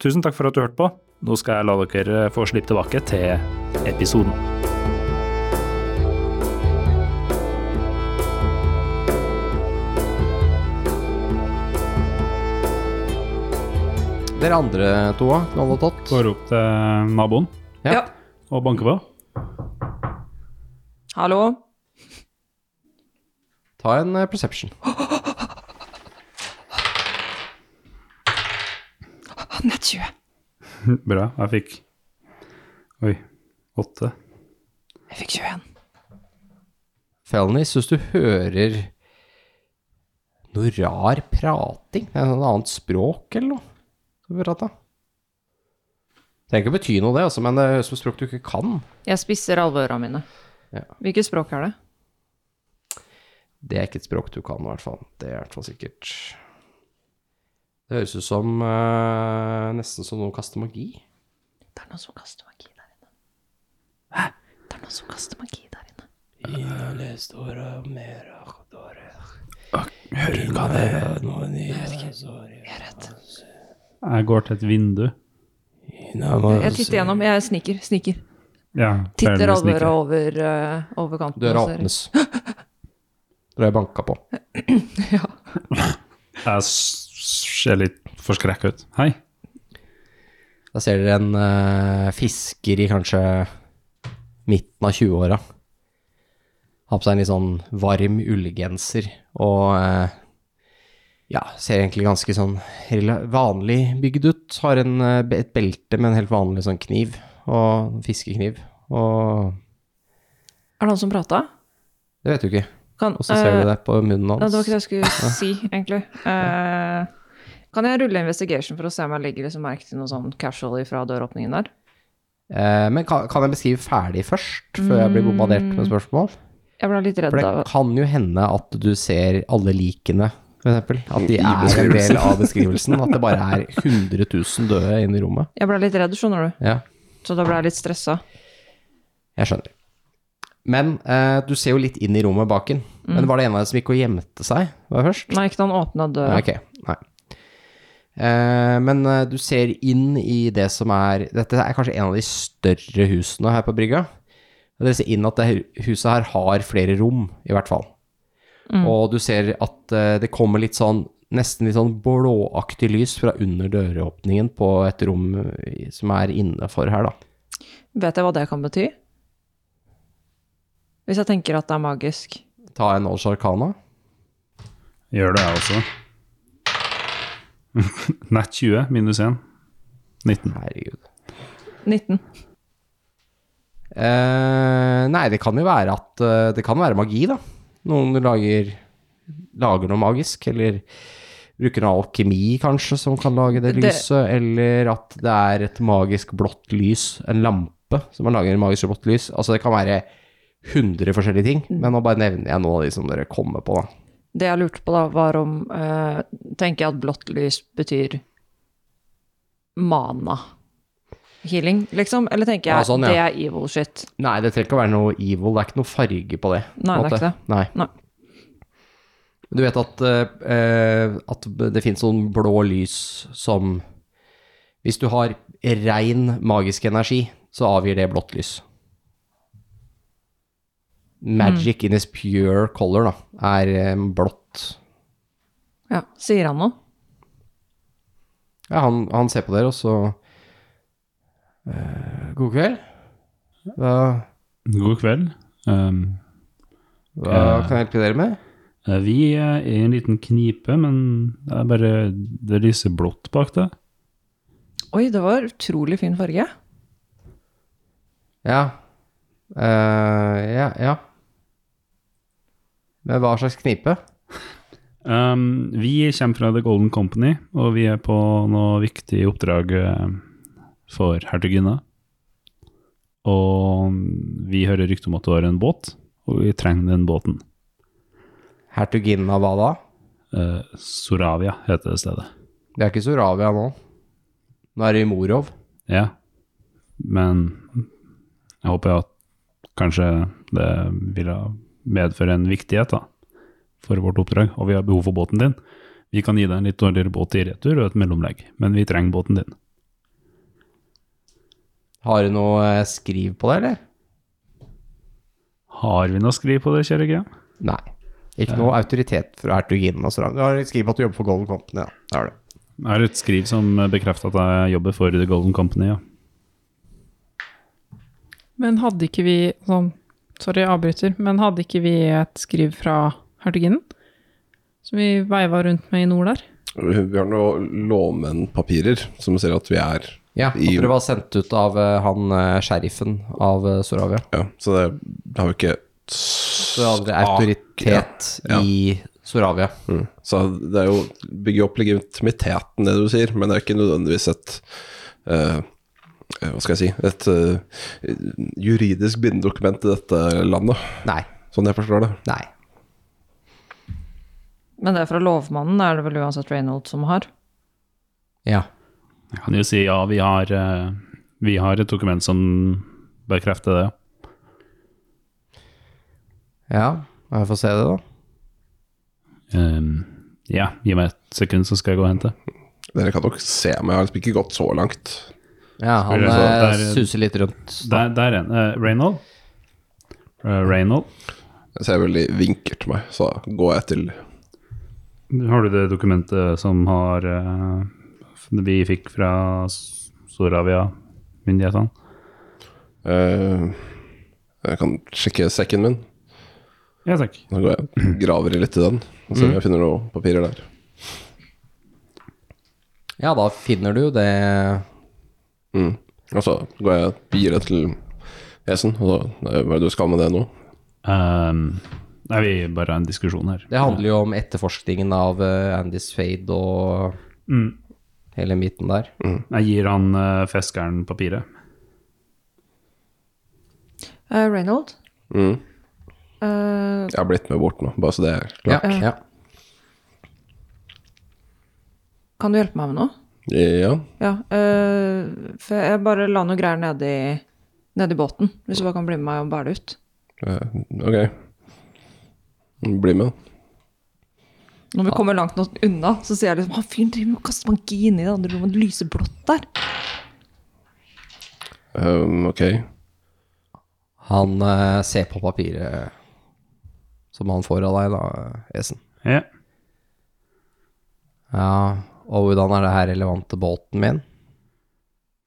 Speaker 9: Tusen takk for at du hørte på. Nå skal jeg la dere
Speaker 8: eh,
Speaker 9: få slippe tilbake til episoden.
Speaker 2: Dere andre to òg, Knallotott.
Speaker 8: Går opp til eh, naboen
Speaker 2: Ja.
Speaker 4: Ja.
Speaker 8: og banker på.
Speaker 4: Hallo?
Speaker 2: Ta en eh, perception.
Speaker 4: Nett 20.
Speaker 8: Bra. Jeg fikk Oi. Åtte.
Speaker 4: Jeg fikk 21.
Speaker 2: Felony, syns du hører noe rar prating? Det er et annet språk eller noe? som blir pratet. Det trenger ikke å bety noe, det, altså, men det høres ut som språk du ikke kan.
Speaker 7: Jeg spisser alle ørene mine.
Speaker 2: Ja.
Speaker 7: Hvilket språk er det?
Speaker 2: Det er ikke et språk du kan, i hvert fall. Det er i hvert fall sikkert. Det høres ut som eh, nesten som noen kaster magi.
Speaker 6: Det er noen som kaster magi der inne. Hæ? Det er noen som kaster magi der inne.
Speaker 8: Jeg går til et vindu.
Speaker 4: Jeg titter gjennom. Jeg sniker. sniker.
Speaker 8: Ja,
Speaker 7: Titter
Speaker 8: Fairness
Speaker 7: alle
Speaker 8: nikker.
Speaker 7: ørene over, eh, over kanten.
Speaker 2: Døra
Speaker 7: og ser-
Speaker 2: åpnes. Dere er banka på.
Speaker 8: Jeg s- ser litt forskrekka ut. Hei.
Speaker 2: Da ser dere en eh, fisker i kanskje midten av 20-åra. Har på seg en litt sånn varm ullgenser og eh, ja, ser egentlig ganske sånn rela- vanlig bygd ut. Har en, eh, be- et belte med en helt vanlig sånn kniv, og en fiskekniv. Og
Speaker 7: Er det han som prata?
Speaker 2: det vet du ikke.
Speaker 7: Kan,
Speaker 2: Og så ser
Speaker 7: eh,
Speaker 2: du det på munnen
Speaker 7: Ja, det var
Speaker 2: hans.
Speaker 7: ikke det jeg skulle si, egentlig. Eh, kan jeg rulle investigation for å se om jeg legger liksom merke til noe sånn casual fra døråpningen der?
Speaker 2: Eh, men kan, kan jeg beskrive ferdig først, før jeg blir bombardert
Speaker 7: Mm.
Speaker 2: med spørsmål?
Speaker 7: Jeg ble litt redd
Speaker 2: For
Speaker 7: av
Speaker 2: det kan jo hende at du ser alle likene, for eksempel. At de
Speaker 1: I
Speaker 2: er en
Speaker 1: beskrivelsen.
Speaker 2: del av beskrivelsen. At det bare er 100 000 døde inne i rommet.
Speaker 7: Jeg ble litt redd, skjønner du.
Speaker 2: Ja,
Speaker 7: Så da ble jeg litt stressa.
Speaker 2: jeg skjønner. Men eh, du ser jo litt inn i rommet baken.
Speaker 1: Mm.
Speaker 2: Men var det en av dem som gikk og gjemte seg? Var det først?
Speaker 7: Nei, ikke da han åpna døra.
Speaker 2: Nei, ok. Nei. Eh, men eh, du ser inn i det som er Dette er kanskje en av de større husene her på brygga. Og Dere ser inn at det her- huset her har flere rom, i hvert fall. Og du ser at eh, det kommer litt sånn Nesten litt sånn blåaktig lys fra under døråpningen på et rom eh, som er innenfor her, da.
Speaker 7: Vet jeg hva det kan bety? Hvis jeg tenker at det er magisk.
Speaker 2: Ta en Olsh Arcana.
Speaker 8: Gjør det, jeg også. Nett 20 minus 1. 19.
Speaker 2: Herregud.
Speaker 7: 19.
Speaker 2: Eh, nei, det kan jo være at eh, Det kan være magi, da. Noen lager, lager noe magisk, eller bruker noe alkemi, kanskje, som kan lage det
Speaker 7: Det-
Speaker 2: lyset. Eller at det er et magisk blått lys, en lampe, som man lager et magisk blått lys. Altså, det kan være 100 forskjellige ting, men nå bare nevner jeg noen av de som dere kommer på, da.
Speaker 7: Det jeg lurte på da, var om eh, Tenker jeg at blått lys betyr mana? Healing, liksom? Eller tenker jeg
Speaker 2: Ja, sånn, ja.
Speaker 7: det er evil shit?
Speaker 2: Nei, det trenger ikke å være noe evil, det er ikke noe farge på det. på en
Speaker 7: Nei, det er
Speaker 2: måte.
Speaker 7: ikke det.
Speaker 2: Nei.
Speaker 7: Nei.
Speaker 2: Du vet at, eh, eh, at det finnes sånn blå lys som Hvis du har ren magisk energi, så avgir det blått lys.
Speaker 7: Mm.
Speaker 2: Magic in its pure color, da, er eh, blått.
Speaker 7: Ja, Sier han noe?
Speaker 2: Ja, han, han ser på dere, og så eh, God kveld. Hva,
Speaker 8: God kveld. Um,
Speaker 2: hva
Speaker 8: Eh.
Speaker 2: kan jeg hjelpe dere med?
Speaker 8: Eh, Vi eh, er i en liten knipe, men det er bare det lyser blått bak det.
Speaker 7: Oi, det var utrolig fin farge.
Speaker 2: Ja. Eh, ja, ja. Men hva slags knipe?
Speaker 8: Um, vi kommer fra The Golden Company, og vi er på noe viktig oppdrag eh, for hertuginna. Og vi hører rykte om at du har en båt, og vi trenger den båten.
Speaker 2: Hertuginnen av hva da?
Speaker 8: Eh, Soravia heter det stedet.
Speaker 2: Det er ikke Soravia nå. Nå er det i Morov.
Speaker 8: Ja. Men jeg håper at kanskje det ville medføre en viktighet da, for vårt oppdrag, og vi har behov for båten din. Vi kan gi deg en litt dårligere båt i retur og et mellomlegg, men vi trenger båten din.
Speaker 2: Har du noe eh, skriv på det, eller?
Speaker 8: Har vi noe skriv på det, kjære Graham?
Speaker 2: Nei. Ikke noe autoritet fra hertuginnen og sånn. Du har skriv på at du jobber for Golden Company, ja. Det har du.
Speaker 8: Jeg har et skriv som bekrefter at jeg jobber for The Golden Company, ja.
Speaker 5: Men hadde ikke vi sånn Sorry, jeg avbryter. Men hadde ikke vi et skriv fra hertuginnen? Som vi veiva rundt med i nord der?
Speaker 1: Vi har noen lovmennpapirer som ser at vi er
Speaker 2: Ja, at
Speaker 1: i
Speaker 2: dere var sendt ut av eh, han eh, sheriffen av eh, Soravia.
Speaker 1: ja, Så det har vi ikke
Speaker 2: Så hadde dere autoritet
Speaker 1: Ja.
Speaker 2: i Soravia.
Speaker 1: Mm. Så det er jo bygge opp legitimiteten, det du sier, men det er ikke nødvendigvis et eh, eh, Hva skal jeg si Et eh, juridisk bindedokument i dette landet,
Speaker 2: Nei.
Speaker 1: sånn jeg forstår det.
Speaker 2: Nei.
Speaker 7: Men det er fra lovmannen, er det vel uansett Reynolds som har?
Speaker 2: Ja.
Speaker 8: Jeg kan jo si ja, vi har, eh, vi har et dokument som bekrefter det.
Speaker 2: Ja, jeg får se det, da.
Speaker 8: Ehm, ja, gi meg et sekund, så skal jeg gå og hente.
Speaker 1: Dere kan nok se meg, jeg har liksom ikke gått så langt.
Speaker 2: Ja, han
Speaker 8: Spør jeg så,
Speaker 2: eh,
Speaker 8: det er-
Speaker 2: suser litt rundt.
Speaker 8: Der, der er en. Eh, Reynold? Eh, Reynold,
Speaker 1: Jeg ser vel de vinker til meg, så går jeg til
Speaker 8: har du det dokumentet som har eh, vi fikk fra S- Soravia-myndighetene?
Speaker 1: eh, Jeg kan sjekke sekken min.
Speaker 8: Ja takk.
Speaker 1: Så går jeg og graver litt i den, og ser om jeg finner noen papirer der.
Speaker 2: Ja, da finner du det
Speaker 1: Mm. Og så går jeg og gir det til Esen, og så eh, Hva er det du skal med det nå?
Speaker 8: Ehm, nei, vi bare har en diskusjon her.
Speaker 2: Det handler jo om etterforskningen av eh, Andys Fade og
Speaker 8: Mm.
Speaker 2: hele myten der.
Speaker 8: Jeg gir han eh, feskeren papiret.
Speaker 7: Eh, Reynolds?
Speaker 1: Mm.
Speaker 7: Eh,
Speaker 1: Jeg har blitt med bort nå, bare så det er
Speaker 2: Ja,
Speaker 1: klart.
Speaker 2: ja.
Speaker 7: kan du hjelpe meg med noe?
Speaker 1: Ja.
Speaker 7: Ja. eh, for jeg bare la noe greier nedi, nedi båten, hvis du bare kan bli med meg og bære det ut.
Speaker 1: Eh, ok. Bli med.
Speaker 7: Når vi kommer langt nok unna, så sier jeg liksom Han fyren driver med å kaste magi inn i det andre rommet, det lyser blått der.
Speaker 1: Um, ok.
Speaker 2: Han eh, ser på papiret som han får av deg, da, Esen.
Speaker 8: Ja.
Speaker 2: Ja, og hvordan er det her relevant til båten min?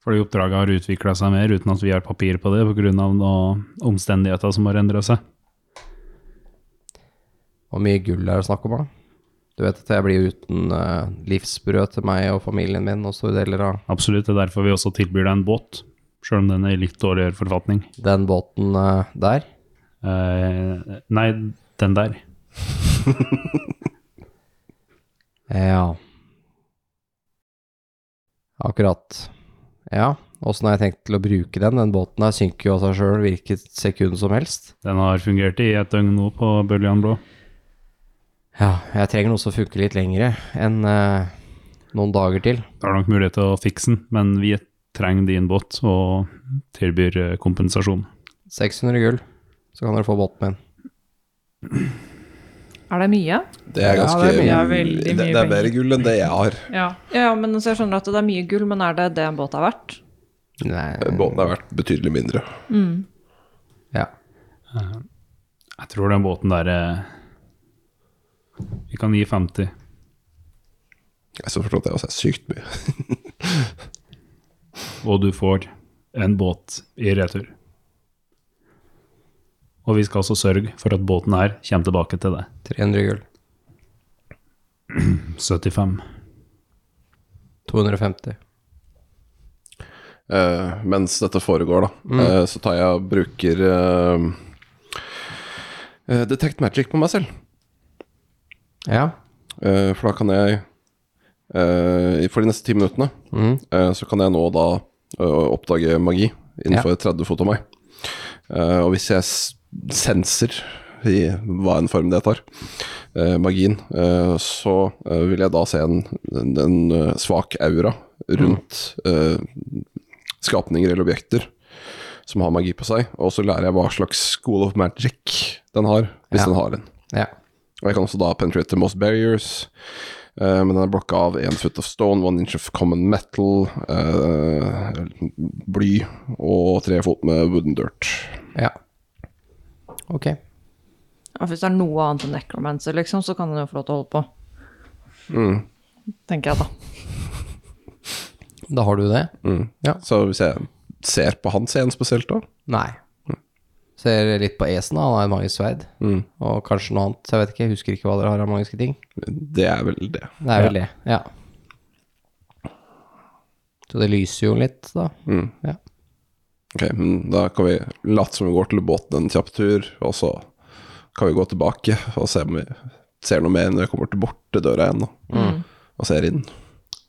Speaker 8: Fordi oppdraget har utvikla seg mer uten at vi har papir på det, pga. omstendigheter som har endra seg.
Speaker 2: Hvor mye gull er det snakk om, da? Du vet at jeg blir uten eh, livsbrød til meg og familien min og store deler av
Speaker 8: Absolutt, det er derfor vi også tilbyr deg en båt, sjøl om den er i litt dårligere forfatning.
Speaker 2: den båten eh, der.
Speaker 8: Eh, nei, den der.
Speaker 2: Ja. Akkurat. Ja, åssen har jeg tenkt til å bruke den? Den båten her synker jo av seg sjøl hvilket sekund som helst.
Speaker 8: Den har fungert i et døgn nå på Bøljan Blå.
Speaker 2: Ja, jeg trenger noe som funker litt lengre enn eh, noen dager til.
Speaker 8: Det er nok mulighet til å fikse den, men vi trenger din båt og tilbyr eh, kompensasjon.
Speaker 2: 600 gull, så kan dere få båten min.
Speaker 7: Er det mye?
Speaker 1: Det er
Speaker 2: Ja,
Speaker 1: ganske
Speaker 2: det er
Speaker 5: mye- veldig
Speaker 1: det,
Speaker 5: mye
Speaker 1: det er mer
Speaker 5: penger.
Speaker 1: gull enn det jeg har.
Speaker 5: Ja.
Speaker 7: Ja, ja, men så jeg skjønner at det er mye gull, men er det det en båt er verdt?
Speaker 2: Nei,
Speaker 1: Båten har vært betydelig mindre.
Speaker 2: ja.
Speaker 8: Jeg tror den båten der eh, Vi kan gi 50.
Speaker 1: Jeg så forstått det også er sykt mye.
Speaker 8: og du får en båt i retur. Og vi skal også sørge for at båten her kommer tilbake til deg.
Speaker 2: 300 gull.
Speaker 8: 75.
Speaker 2: 250.
Speaker 1: Eh, mens dette foregår, da,
Speaker 2: Mm.
Speaker 1: eh, så tar jeg og bruker eh, eh, Detect Magic på meg selv.
Speaker 2: Ja.
Speaker 1: Eh, for da kan jeg eh, For de neste ti minuttene
Speaker 2: Mm.
Speaker 1: eh, så kan jeg nå da eh, oppdage magi innenfor 30 fot av meg. Eh, og hvis jeg s- senser i hva en form det tar, eh, magien, eh, så eh, vil jeg da se en, en, en eh, svak aura rundt eh, skapninger eller objekter som har magi på seg, og så lærer jeg hva slags school of magic den har, hvis
Speaker 2: Ja.
Speaker 1: den har en.
Speaker 2: Ja.
Speaker 1: Og jeg kan også da penetrate the most barriers. eh, men den er blokka av én foot of stone, one inch of common metal, eh, bly og tre fot med wooden dirt.
Speaker 2: Ja. Ok.
Speaker 7: Ja, for hvis det er noe annet enn necromancer, liksom, så kan han jo få lov til å holde på.
Speaker 1: Mm.
Speaker 7: Tenker jeg, da.
Speaker 2: Da har du det?
Speaker 1: Mm.
Speaker 2: Ja.
Speaker 1: Så hvis jeg ser på han scenen spesielt, da
Speaker 2: Nei. Ser litt på Esen, han har et magisk sverd.
Speaker 1: Mm.
Speaker 2: Og kanskje noe annet, jeg vet ikke. Jeg husker ikke hva dere har av magiske ting.
Speaker 1: Det er vel det.
Speaker 2: Det er vel det, ja. Så det lyser jo litt, da.
Speaker 1: Mm.
Speaker 2: Ja.
Speaker 1: Ok, men da kan vi late som vi går til båten en kjapp tur, og så kan vi gå tilbake og se om vi ser noe mer når jeg kommer til bort til døra igjen, da. Og ser inn.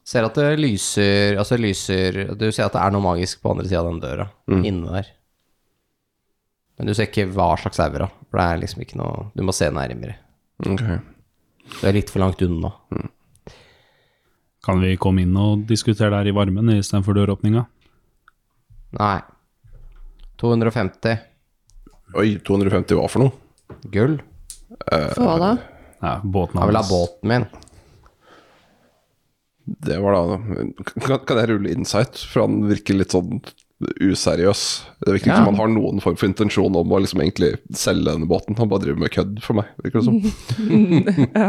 Speaker 2: Ser at det lyser Altså, det lyser Du ser at det er noe magisk på andre sida av den døra,
Speaker 1: Mm.
Speaker 2: inne der. Men du ser ikke hva slags aura, for det er liksom ikke noe Du må se nærmere.
Speaker 1: Ok. Mm.
Speaker 2: Det er litt for langt unna.
Speaker 8: Kan vi komme inn og diskutere der i varmen istedenfor døråpninga?
Speaker 2: Nei. 250
Speaker 1: Oi, 250 hva for noe?
Speaker 2: gull.
Speaker 7: For hva da?
Speaker 8: Ja, båten
Speaker 2: Jeg vil ha
Speaker 8: hans.
Speaker 2: båten min.
Speaker 1: Det var da Kan, kan jeg rulle insight? For han virker litt sånn useriøs. Det virker ikke
Speaker 2: Ja.
Speaker 1: som han har noen form for intensjon om å liksom egentlig selge denne båten. Han bare driver med kødd for meg, virker det som.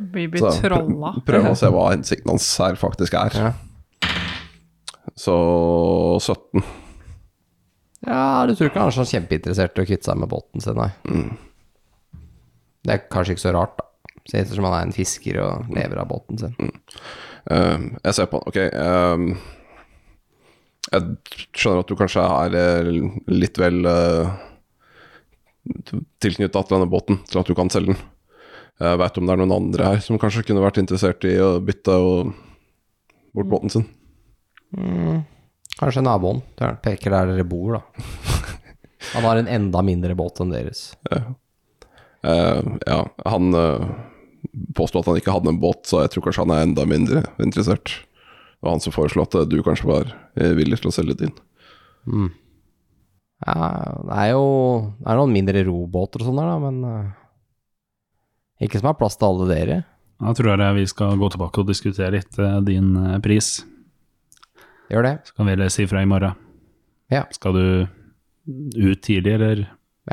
Speaker 5: Vi blir
Speaker 1: Så jeg
Speaker 5: trolla.
Speaker 1: prø- prøver å se hva hensikten hans her faktisk er.
Speaker 2: Ja.
Speaker 1: Så 17.
Speaker 2: Ja, du tror ikke han er sånn kjempeinteressert i å kvitte seg med båten sin, nei. Det er kanskje ikke så rart, da. Så ettersom han er en fisker og lever av båten sin.
Speaker 1: Ehm, jeg ser på han. Ok. ehm, jeg skjønner at du kanskje er eh, litt vel uh, tilknytta til denne båten, til at du kan selge den. Jeg veit om det er noen andre her som kanskje kunne vært interessert i å bytte og bort båten sin.
Speaker 2: Mm. Kanskje naboen der han peker der dere bor, da. Han har en enda mindre båt enn deres.
Speaker 1: Eh, ja, han uh, påsto at han ikke hadde en båt, så jeg tror kanskje han er enda mindre interessert. Det var han som foreslo at eh, du kanskje var eh, villig til å selge din.
Speaker 2: Mm. Ja, det er jo det er noen mindre robåter og sånn der, da, men eh, Ikke som har plass til alle dere.
Speaker 8: Da tror jeg vi skal gå tilbake og diskutere litt eh, din eh, pris.
Speaker 2: Gjør det.
Speaker 8: Så kan vi lese ifra i morgen.
Speaker 2: Ja.
Speaker 8: Skal du ut tidlig, eller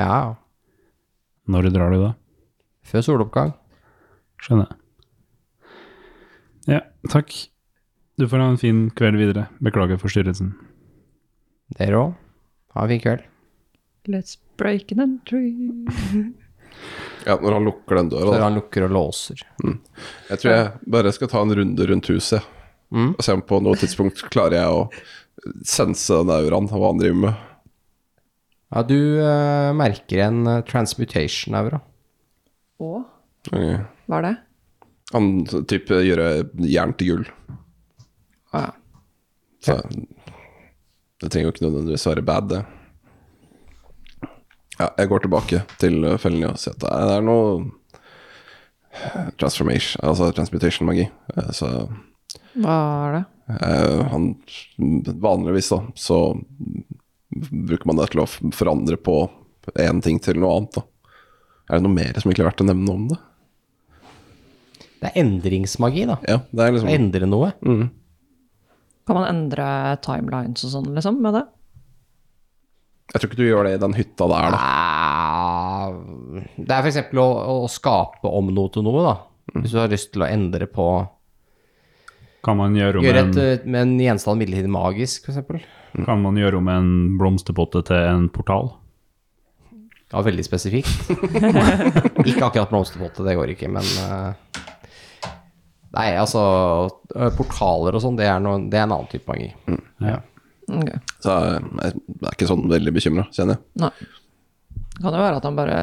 Speaker 2: Ja,
Speaker 8: når drar du da?
Speaker 2: før soloppgang.
Speaker 8: Skjønner. Ja, takk. Du får ha en fin kveld videre. Beklager forstyrrelsen.
Speaker 2: Dere òg. Ha en fin kveld.
Speaker 7: Let's break an entry.
Speaker 1: Ja, når han lukker den døra,
Speaker 2: Før
Speaker 1: da.
Speaker 2: han lukker og låser.
Speaker 1: Jeg tror jeg bare skal ta en runde rundt huset
Speaker 2: Mm.
Speaker 1: og se om på noe tidspunkt klarer jeg å sense den auraen og hva han driver med.
Speaker 2: Ja, du eh, merker en eh, transmutation-aura.
Speaker 7: Og
Speaker 1: Ok.
Speaker 7: hva er det?
Speaker 1: Han type gjør jern til gull.
Speaker 7: Å ja.
Speaker 1: Så det trenger jo ikke nødvendigvis være bad, det. Ja, jeg går tilbake til eh, fellen og sier at det er noe transformation, altså transmutation-magi. Eh, Så
Speaker 7: Hva er det?
Speaker 1: Eh, han, vanligvis da, så bruker man det til å f- forandre på én ting til noe annet. Da. Er det noe mer som ikke er verdt å nevne om det?
Speaker 2: Det er endringsmagi, da.
Speaker 1: Ja, det er liksom
Speaker 2: Endre noe.
Speaker 7: Kan man endre timelines og sånn, liksom, med det?
Speaker 1: Jeg tror ikke du gjør det i den hytta der, da.
Speaker 2: Ah, Det er f.eks. Å, å skape om noe til noe, da. Hvis du har lyst til å endre på
Speaker 8: Kan man gjøre om,
Speaker 2: Gjøre et,
Speaker 8: en,
Speaker 2: eh, med en gjenstand midlertidig magisk, f.eks.
Speaker 8: kan man gjøre om en blomsterpotte til en portal?
Speaker 2: Ja, veldig spesifikt. ikke akkurat blomsterpotte, det går ikke, men eh, Nei, altså ø, Portaler og sånn, det, er noe- det er en annen type magi.
Speaker 8: Ja.
Speaker 7: Ok.
Speaker 1: Så jeg, jeg er ikke sånn veldig bekymra, kjenner jeg.
Speaker 7: Nei. Det kan jo være at han bare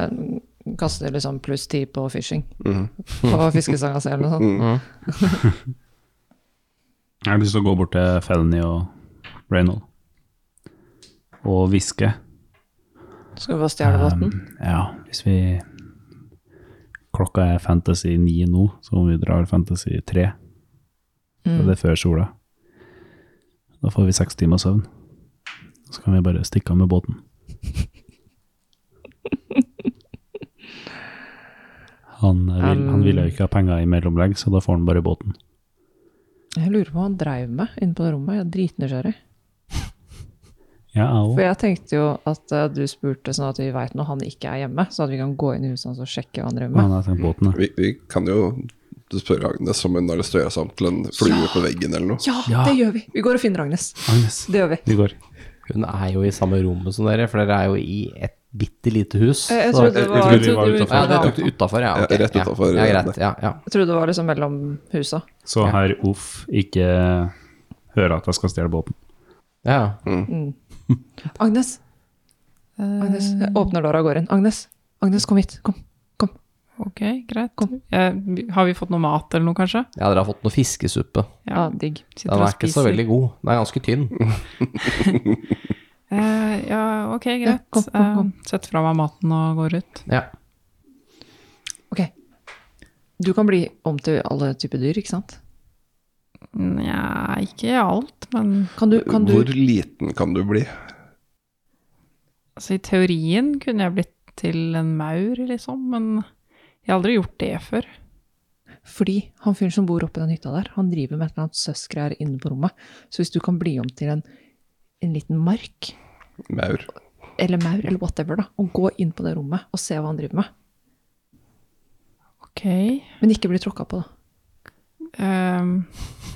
Speaker 7: kaster liksom pluss ti på fishing.
Speaker 1: Mhm.
Speaker 7: På fiskesanga si eller noe sånt.
Speaker 1: Mm.
Speaker 8: Jeg har lyst til å gå bort til Felony og Reynold og hviske.
Speaker 7: Skal vi bare stjele båten?
Speaker 8: Um, ja, hvis vi Klokka er Fantasy 9 nå, så om vi drar Fantasy 3
Speaker 7: Mm.
Speaker 8: og det er før sola Da får vi seks timer søvn. Så kan vi bare stikke av med båten. Han, eh,
Speaker 7: Um,
Speaker 8: vil, han ville jo ikke ha penger i mellomlegg, så da får han bare båten.
Speaker 7: Eh, Jeg lurer på hva han dreiv med inne på det rommet. Jeg er dritnysgjerrig.
Speaker 8: Ja, jeg
Speaker 7: For
Speaker 8: òg.
Speaker 7: jeg tenkte jo at eh, du spurte sånn at vi veit når han ikke er hjemme, så at vi kan gå inn i huset hans og sjekke hva han driver med.
Speaker 8: Han har tenkt båten, ja.
Speaker 1: Vi, vi kan jo spørre Agnes om hun har lyst til å gjøre seg om til en flue på veggen eller noe.
Speaker 7: Ja, det gjør vi! Vi går og finner Agnes.
Speaker 8: Agnes,
Speaker 7: Det gjør vi.
Speaker 8: vi går.
Speaker 2: Hun er jo i samme rommet som dere, for dere er jo i et bitte lite hus.
Speaker 7: Eh, Jeg, jeg
Speaker 2: så-
Speaker 7: trodde det var,
Speaker 8: vi var
Speaker 2: Å, ja, det tok du utafor, ja.
Speaker 1: Ja,
Speaker 2: ok,
Speaker 1: rett utenfor,
Speaker 2: Ja, ja,
Speaker 1: ja.
Speaker 2: greit. Ja, ja.
Speaker 7: jeg trodde det var liksom mellom husa.
Speaker 8: Så
Speaker 2: Ja.
Speaker 8: herr Off ikke hører at jeg skal stjele båten.
Speaker 2: ja.
Speaker 7: Mm. Agnes! Agnes, jeg åpner døra og går inn. Agnes, Agnes, kom hit. Kom.
Speaker 5: Ok, greit. Eh, har vi fått noe mat eller noe, kanskje?
Speaker 2: ja, dere har fått noe fiskesuppe.
Speaker 7: Ja, digg.
Speaker 5: sitter
Speaker 2: Den
Speaker 5: og
Speaker 2: er ikke så
Speaker 5: spiser.
Speaker 2: veldig god. Den er ganske tynn.
Speaker 5: Eh, ja, ok, greit.
Speaker 7: kom, kom, kom.
Speaker 5: Eh, Sett fra meg maten og går ut.
Speaker 2: Ja.
Speaker 7: Ok. Du kan bli om til alle typer dyr, ikke sant?
Speaker 5: Nja, ikke alt, men
Speaker 7: Kan du, kan du
Speaker 1: Hvor liten kan du bli?
Speaker 5: altså, i teorien kunne jeg blitt til en maur, liksom. Men jeg har aldri gjort det før.
Speaker 7: Fordi han fyren som bor oppe i den hytta der, han driver med et eller annet søskgreier inne på rommet. Så hvis du kan bli om til en, en liten mark,
Speaker 1: Maur.
Speaker 7: eller maur, eller whatever, da, og gå inn på det rommet og se hva han driver med,
Speaker 5: Ok. Eh,
Speaker 7: men ikke bli tråkka på, da.
Speaker 5: Ehm,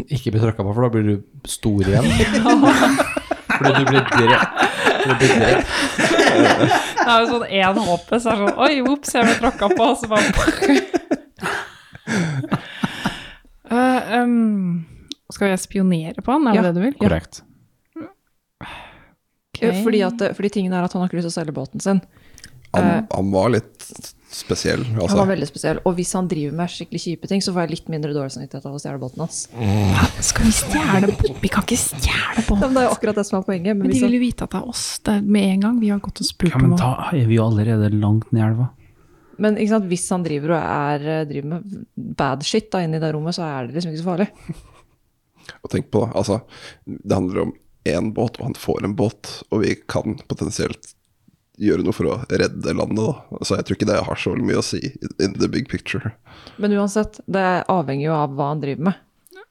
Speaker 2: Ikke bli tråkka på, for da blir du stor igjen. Fordi du blir drept. Du blir drept.
Speaker 5: det er jo sånn én HP, så er det sånn Oi, ops, jeg ble tråkka på. Så bare Eh, em, Skal jeg spionere på han, er det
Speaker 7: Ja.
Speaker 5: det du vil?
Speaker 8: Korrekt.
Speaker 5: Ok.
Speaker 7: Eh, Fordi, at, fordi tingen er at han har ikke lyst til å selge båten sin.
Speaker 1: Han, han var litt spesiell,
Speaker 7: Eh. Han
Speaker 1: altså.
Speaker 7: var veldig spesiell. Og hvis han driver med skikkelig kjipe ting, så får jeg litt mindre dårlig samvittighet av å stjele båten hans.
Speaker 1: Mm.
Speaker 5: Skal vi stjele båten? Vi kan ikke stjele
Speaker 7: Ja,
Speaker 5: båten.
Speaker 7: men det er jo akkurat det som er poenget. Men
Speaker 5: Men de
Speaker 7: hvis han,
Speaker 5: vil jo vite at det er oss det er med en gang. Vi har gått og spurt
Speaker 8: Ja,
Speaker 5: om
Speaker 8: men
Speaker 5: hva-
Speaker 8: da er vi jo allerede langt ned i elva.
Speaker 7: men ikke sant, hvis han driver og er, eh, driver med bad shit da, inne i det rommet, så er det liksom ikke så farlig.
Speaker 1: Og tenk på det. Altså, det handler om én båt, og han får en båt. Og vi kan potensielt gjøre noe for å redde landet, da. Så jeg tror ikke det har så mye å si in the big picture.
Speaker 7: Men uansett, det avhenger jo av hva han driver med.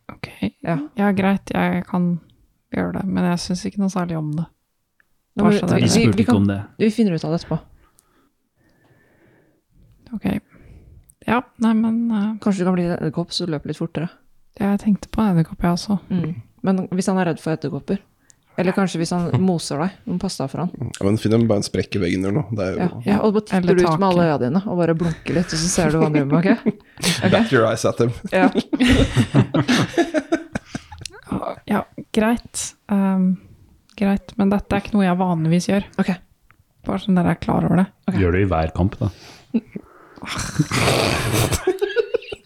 Speaker 5: Ok,
Speaker 7: Ja.
Speaker 5: ja greit, jeg kan gjøre det, men jeg syns ikke noe særlig om det.
Speaker 7: Nå
Speaker 5: Bare
Speaker 7: må vi-
Speaker 5: så
Speaker 7: vi-
Speaker 5: det
Speaker 8: Vi
Speaker 5: er-
Speaker 8: spurte ikke
Speaker 7: kan-
Speaker 8: om det.
Speaker 7: Vi finner ut av det etterpå.
Speaker 5: Ok. Ja, nei, men eh,
Speaker 7: Kanskje du kan bli en edderkopp, så du løper litt fortere.
Speaker 5: jeg tenkte på en edderkopp, jeg også.
Speaker 7: Mm.
Speaker 11: Mm.
Speaker 7: Men hvis han er redd for edderkopper Eller kanskje hvis han moser deg. Du må passe deg for han.
Speaker 1: Ja, men finn en- bare en sprekk i veggen eller noe. Det er
Speaker 7: Ja.
Speaker 1: jo
Speaker 7: Ja, og bare
Speaker 5: Eller
Speaker 7: titter du ut med
Speaker 5: taket.
Speaker 7: alle øya dine og bare blunker litt, og så ser du hva han driver med. ok?
Speaker 1: Back your eyes at him.
Speaker 7: Ja.
Speaker 5: Ja, greit. Ehm, greit, men dette er ikke noe jeg vanligvis gjør.
Speaker 7: Ok.
Speaker 5: Bare sånn dere er klar over det.
Speaker 8: Gjør det i hver kamp, da.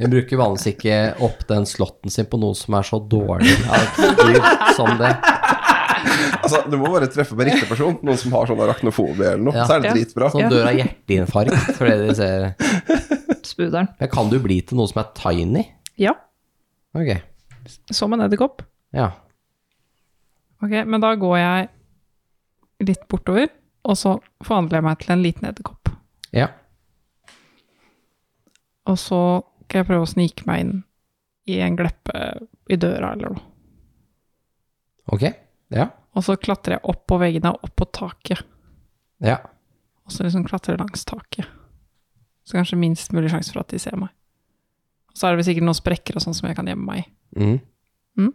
Speaker 2: Hun bruker vanligvis ikke opp den slotten sin på noe som er så dårlig alternativ som det.
Speaker 1: Altså, du må bare treffe på riktig person. Noen som har sånn arachnofobi eller noe.
Speaker 2: Ja.
Speaker 1: Så er det dritbra.
Speaker 2: Som dør av hjerteinfarkt. Fordi de ser.
Speaker 7: Spuderen.
Speaker 2: Men kan du bli til noe som er tiny?
Speaker 5: Ja,
Speaker 2: Ok,
Speaker 5: som en edderkopp.
Speaker 2: ja.
Speaker 5: Ok, men da går jeg litt bortover, og så forvandler jeg meg til en liten edderkopp.
Speaker 2: Ja.
Speaker 5: Og så skal jeg prøve å snike meg inn i en gleppe i døra eller noe.
Speaker 2: Ok. Ja.
Speaker 5: Og så klatrer jeg opp på veggene og opp på taket.
Speaker 2: Ja.
Speaker 5: Og så liksom klatrer jeg langs taket. Så kanskje minst mulig sjanse for at de ser meg. Og så er det vel sikkert noen sprekker og sånn som jeg kan gjemme meg i.
Speaker 2: Mhm.
Speaker 5: Mhm.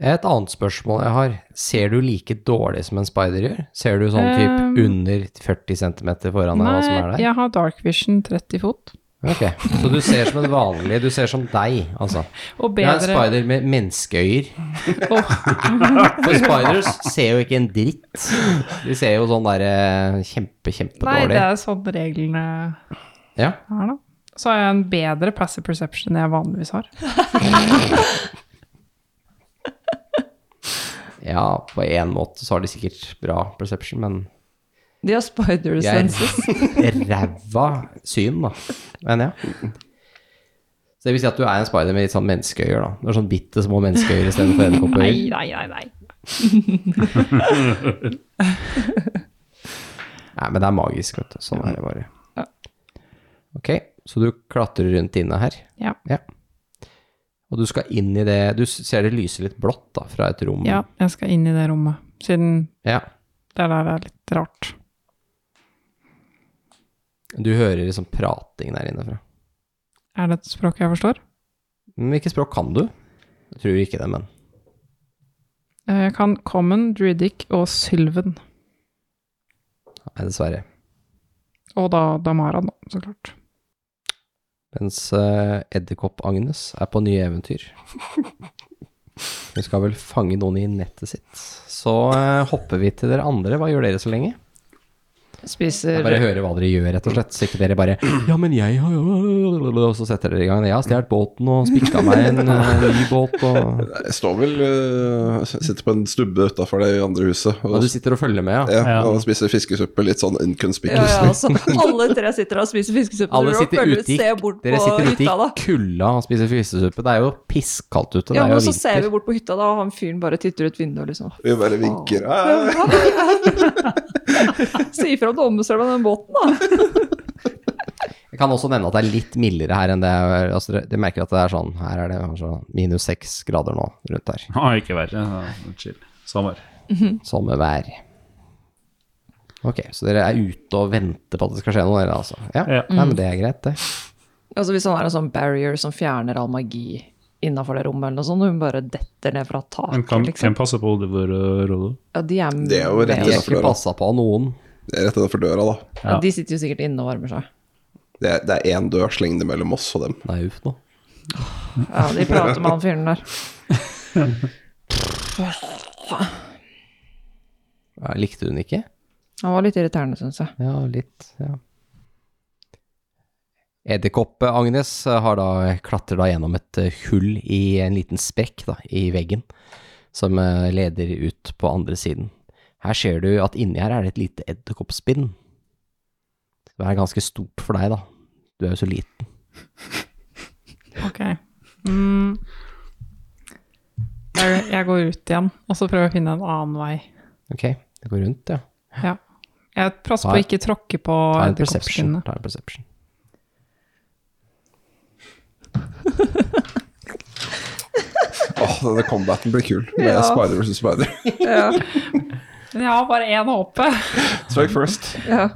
Speaker 2: Et annet spørsmål jeg har. Ser du like dårlig som en spider gjør? Ser du sånn typ
Speaker 5: Eh,
Speaker 2: under 40 cm foran deg, hva som er der?
Speaker 5: Nei, jeg har dark vision 30 fot.
Speaker 2: Ok, Så du ser som en vanlig Du ser som deg, altså.
Speaker 5: Og
Speaker 2: Jeg er en
Speaker 5: bedre.
Speaker 2: spider med menneskeøyer.
Speaker 5: Og-
Speaker 2: For spiders ser jo ikke en dritt. De ser jo sånn der eh, kjempe,
Speaker 5: Nei, det
Speaker 2: kjempedårlig.
Speaker 5: er sånn reglene
Speaker 2: Ja.
Speaker 5: er, da. Så har jeg en bedre passive perception enn jeg vanligvis har.
Speaker 2: ja, på én måte så har de sikkert bra perception, men
Speaker 11: De har spider senses.
Speaker 2: Jeg er ræva syn, da. Men ja. Så det vil si at du er en spider med litt sånn menneskeøyer, da. Du har sånn bitte små menneskeøyer istedenfor
Speaker 5: Nei,
Speaker 2: edderkoppøyer.
Speaker 5: nei, nei, nei.
Speaker 2: Nei, men det er magisk, vet du. Sånn er det bare. Ok, så du klatrer rundt inne her.
Speaker 5: Ja.
Speaker 2: Og du skal inn i det Du ser det lyser litt blått da, fra et rom.
Speaker 5: Ja, jeg skal inn i det rommet, siden
Speaker 2: Ja.
Speaker 5: det der er litt rart.
Speaker 2: Du hører liksom prating der inne fra.
Speaker 5: Er det et språk jeg forstår?
Speaker 2: Men hvilket språk kan du? Jeg tror ikke det, men
Speaker 5: Eh, Jeg kan Common, Druidic og Sylven.
Speaker 2: Nei, dessverre.
Speaker 5: Og da Damara, da, så klart.
Speaker 2: Mens eh, Edderkopp-Agnes er på nye eventyr. Hun skal vel fange noen i nettet sitt. Så eh, hopper vi til dere andre. Hva gjør dere så lenge?
Speaker 11: Spiser
Speaker 2: Jeg bare hører hva dere gjør, rett og slett. Så ikke dere bare Ja, men jeg har Og så setter dere i gang. Jeg har stjålet båten og spikka meg en eh, ny båt og
Speaker 1: Jeg står vel øh, Sitter på en stubbe utafor det andre huset. Og,
Speaker 2: Ja, du sitter og følger med, ja.
Speaker 1: ja
Speaker 2: Ja.
Speaker 1: og spiser fiskesuppe litt sånn
Speaker 11: Ja,
Speaker 1: inconspicuous.
Speaker 11: ja, altså, alle tre sitter og spiser fiskesuppe.
Speaker 2: Alle
Speaker 11: og
Speaker 2: sitter
Speaker 11: følger-
Speaker 2: ute i,
Speaker 11: ser bort
Speaker 2: dere
Speaker 11: på
Speaker 2: sitter ute
Speaker 11: hytta, da.
Speaker 2: i kulda og spiser fiskesuppe. Det er jo pisskaldt ute. Det
Speaker 11: Ja,
Speaker 2: er
Speaker 11: men
Speaker 2: jo
Speaker 11: så ser vi
Speaker 2: vinter.
Speaker 11: bort på hytta, da, og han fyren bare titter ut vinduet, liksom.
Speaker 1: Vi bare vinker. «Hei!»
Speaker 11: Si ifra om du ombestemmer deg den båten, da.
Speaker 2: Jeg kan også nevne at det er litt mildere her enn det er altså, dere- Dere merker at det er sånn Her er det kanskje minus seks grader nå rundt her.
Speaker 8: Ah, ikke verre. Ja, Chill. Samme her.
Speaker 2: Samme vær. Ok, så dere er ute og venter på at det skal skje noe, dere altså. Ja,
Speaker 11: Ja.
Speaker 2: Nei, men det er greit, det.
Speaker 11: Altså, hvis han er en sånn barrier som fjerner all magi innafor det rommet, eller noe sånt, og hun bare detter ned fra
Speaker 8: Men
Speaker 11: taket,
Speaker 8: kan,
Speaker 11: liksom.
Speaker 8: kan passe på hodet Rollo.
Speaker 11: Ja, de er,
Speaker 1: Det er jo rett
Speaker 11: med.
Speaker 1: innenfor døra.
Speaker 2: på av noen.
Speaker 1: Det er rett innenfor døra, da.
Speaker 11: Ja, de sitter jo sikkert inne og varmer seg.
Speaker 1: Det er- det er én dørslengde mellom oss og dem.
Speaker 2: Nei, uff nå.
Speaker 11: Ja, de prater med han fyren der.
Speaker 2: Ja, likte hun ikke?
Speaker 11: Han var litt irriterende, syns jeg.
Speaker 2: Ja, litt. Ja. Edderkopp-Agnes har da, klatrer da gjennom et eh, hull i en liten sprekk da, i veggen, som eh, leder ut på andre siden. Her ser du at inni her er det et lite edderkoppspinn. Det er ganske stort for deg, da. Du er jo så liten.
Speaker 5: Ok. Mm. Jeg, jeg går ut igjen, og så prøver jeg å finne en annen vei.
Speaker 2: Ok, det går rundt, ja.
Speaker 5: Ja. Jeg passer på å ikke tråkke på
Speaker 2: Ta en perception.
Speaker 5: edderkoppskinnet.
Speaker 2: Ta en perception.
Speaker 1: Åh, denne combaten blir kul. Med
Speaker 5: Ja.
Speaker 1: spider versus spider.
Speaker 5: Ja. Men jeg har bare én håpe.
Speaker 1: Strike first.
Speaker 5: Ja.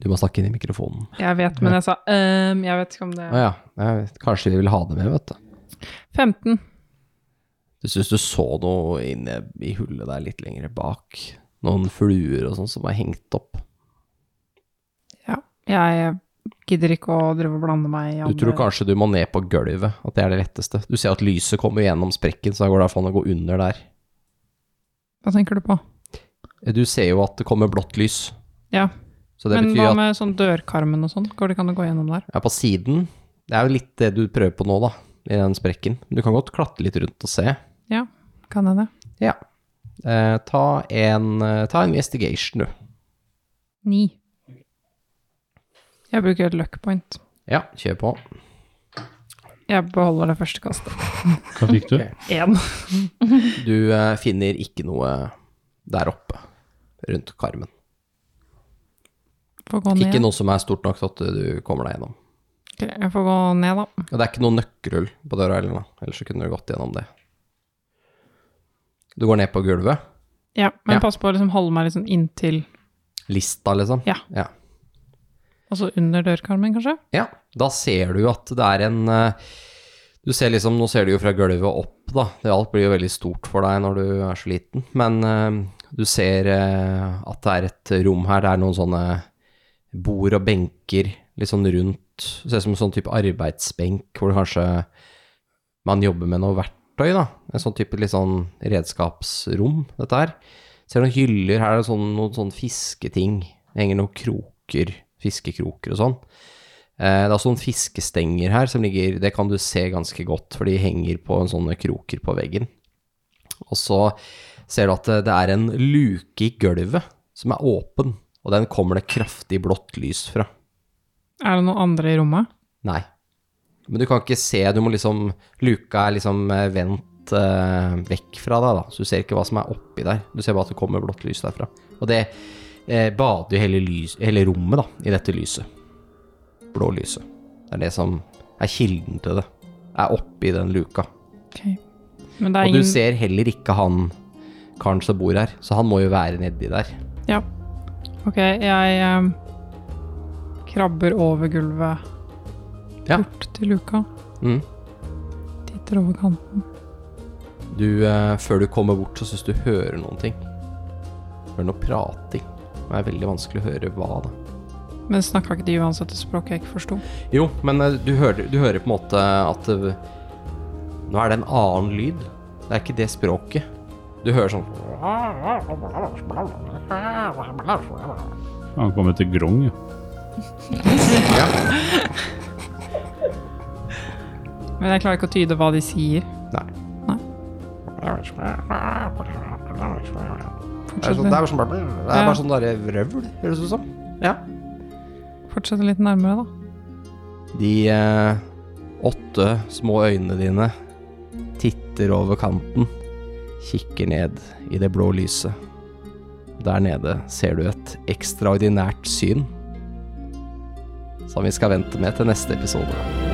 Speaker 2: Du må snakke inn i mikrofonen.
Speaker 5: Jeg vet, men jeg sa ehm, Jeg vet ikke om det
Speaker 2: Å ja, jeg vet, kanskje de vil ha det med, vet du.
Speaker 5: 15.
Speaker 2: Du syns du så noe inne i hullet der litt lenger bak? Noen fluer og sånn som er hengt opp?
Speaker 5: Jeg gidder ikke å drive og blande meg i
Speaker 2: Du tror kanskje du må ned på gulvet, at det er det letteste. Du ser at lyset kommer gjennom sprekken, så da går det an å gå under der. Eh,
Speaker 5: Hva tenker du på?
Speaker 2: Du ser jo at det kommer blått lys.
Speaker 5: Ja.
Speaker 2: Så det
Speaker 5: men
Speaker 2: betyr
Speaker 5: hva
Speaker 2: at
Speaker 5: med sånn dørkarmen og sånn? Går det ikke an å gå gjennom der?
Speaker 2: ja, på siden Det er jo litt det du prøver på nå, da, i den sprekken. Du kan godt klatre litt rundt og se.
Speaker 5: Ja, kan jeg det?
Speaker 2: Ja. Eh, ta en eh, Ta en investigation, du.
Speaker 5: Ni. Jeg bruker et luck point.
Speaker 2: Ja, kjør på.
Speaker 5: Jeg beholder det første kastet.
Speaker 8: Hva fikk du?
Speaker 5: Én.
Speaker 2: Du eh, finner ikke noe der oppe, rundt karmen.
Speaker 5: Får gå ned.
Speaker 2: Ikke noe som er stort nok til at du kommer deg gjennom.
Speaker 5: Ok, jeg får gå ned, da.
Speaker 2: Og det er ikke noe nøkkelhull på døra heller, da. ellers så kunne du gått gjennom det. Du går ned på gulvet.
Speaker 5: Ja, men
Speaker 2: Ja.
Speaker 5: pass på å liksom holde meg litt sånn inntil
Speaker 2: Lista, liksom.
Speaker 5: Ja.
Speaker 2: ja.
Speaker 5: Altså under dørkarmen, kanskje?
Speaker 2: Ja, da ser du jo at det er en eh, Du ser liksom, nå ser du jo fra gulvet opp, da. Det alt blir jo veldig stort for deg når du er så liten. Men eh, du ser eh, at det er et rom her. Det er noen sånne bord og benker litt sånn rundt Ser ut som en sånn type arbeidsbenk hvor det kanskje man jobber med noe verktøy, da. En sånn type litt sånn redskapsrom, dette her. Ser noen hyller, her er det sånn, noen sånn fisketing. Det henger noen kroker, fiskekroker og sånn. Eh, Det er også noen fiskestenger her som ligger Det kan du se ganske godt, for de henger på en sånne kroker på veggen. Og så ser du at det- det er en luke i gulvet som er åpen, og den kommer det kraftig blått lys fra.
Speaker 5: Er det noen andre i rommet?
Speaker 2: Nei. Men du kan ikke se, du må liksom Luka er liksom eh, vendt eh, vekk fra deg, da. Så du ser ikke hva som er oppi der. Du ser bare at det kommer blått lys derfra. Og det eh, bader jo hele, lys, hele rommet da, i dette lyset. Blå lyset. Det er det som er kilden til det. Er oppi den luka.
Speaker 5: Men det
Speaker 2: Og
Speaker 5: er
Speaker 2: du
Speaker 5: ingen
Speaker 2: ser heller ikke han karen som bor her, så han må jo være nedi der.
Speaker 5: Ja. Ok, jeg eh, krabber over gulvet. Bort til luka.
Speaker 2: Mm.
Speaker 5: Titter over kanten.
Speaker 2: Du, eh, før du kommer bort, så syns du hører noen ting. Hører noe prating. Det er veldig vanskelig å høre hva, da.
Speaker 5: Men snakka ikke de uansett et språk jeg ikke forsto?
Speaker 2: Jo, men eh, du hører, du hører på en måte at det, Nå er det en annen lyd. Det er ikke det språket. Du hører sånn
Speaker 8: Han kommer til Grong, ja.
Speaker 2: ja.
Speaker 5: Men jeg klarer ikke å tyde hva de sier.
Speaker 2: Nei. Det er,
Speaker 5: Fortsett
Speaker 2: sånn, det er bare sånn, det er
Speaker 5: Ja.
Speaker 2: bare sånn derre vrøvl, høres det ut som. Ja.
Speaker 5: Fortsett litt nærmere, da.
Speaker 2: De eh, åtte små øynene dine titter over kanten, kikker ned i det blå lyset. Der nede ser du et ekstraordinært syn, som vi skal vente med til neste episode.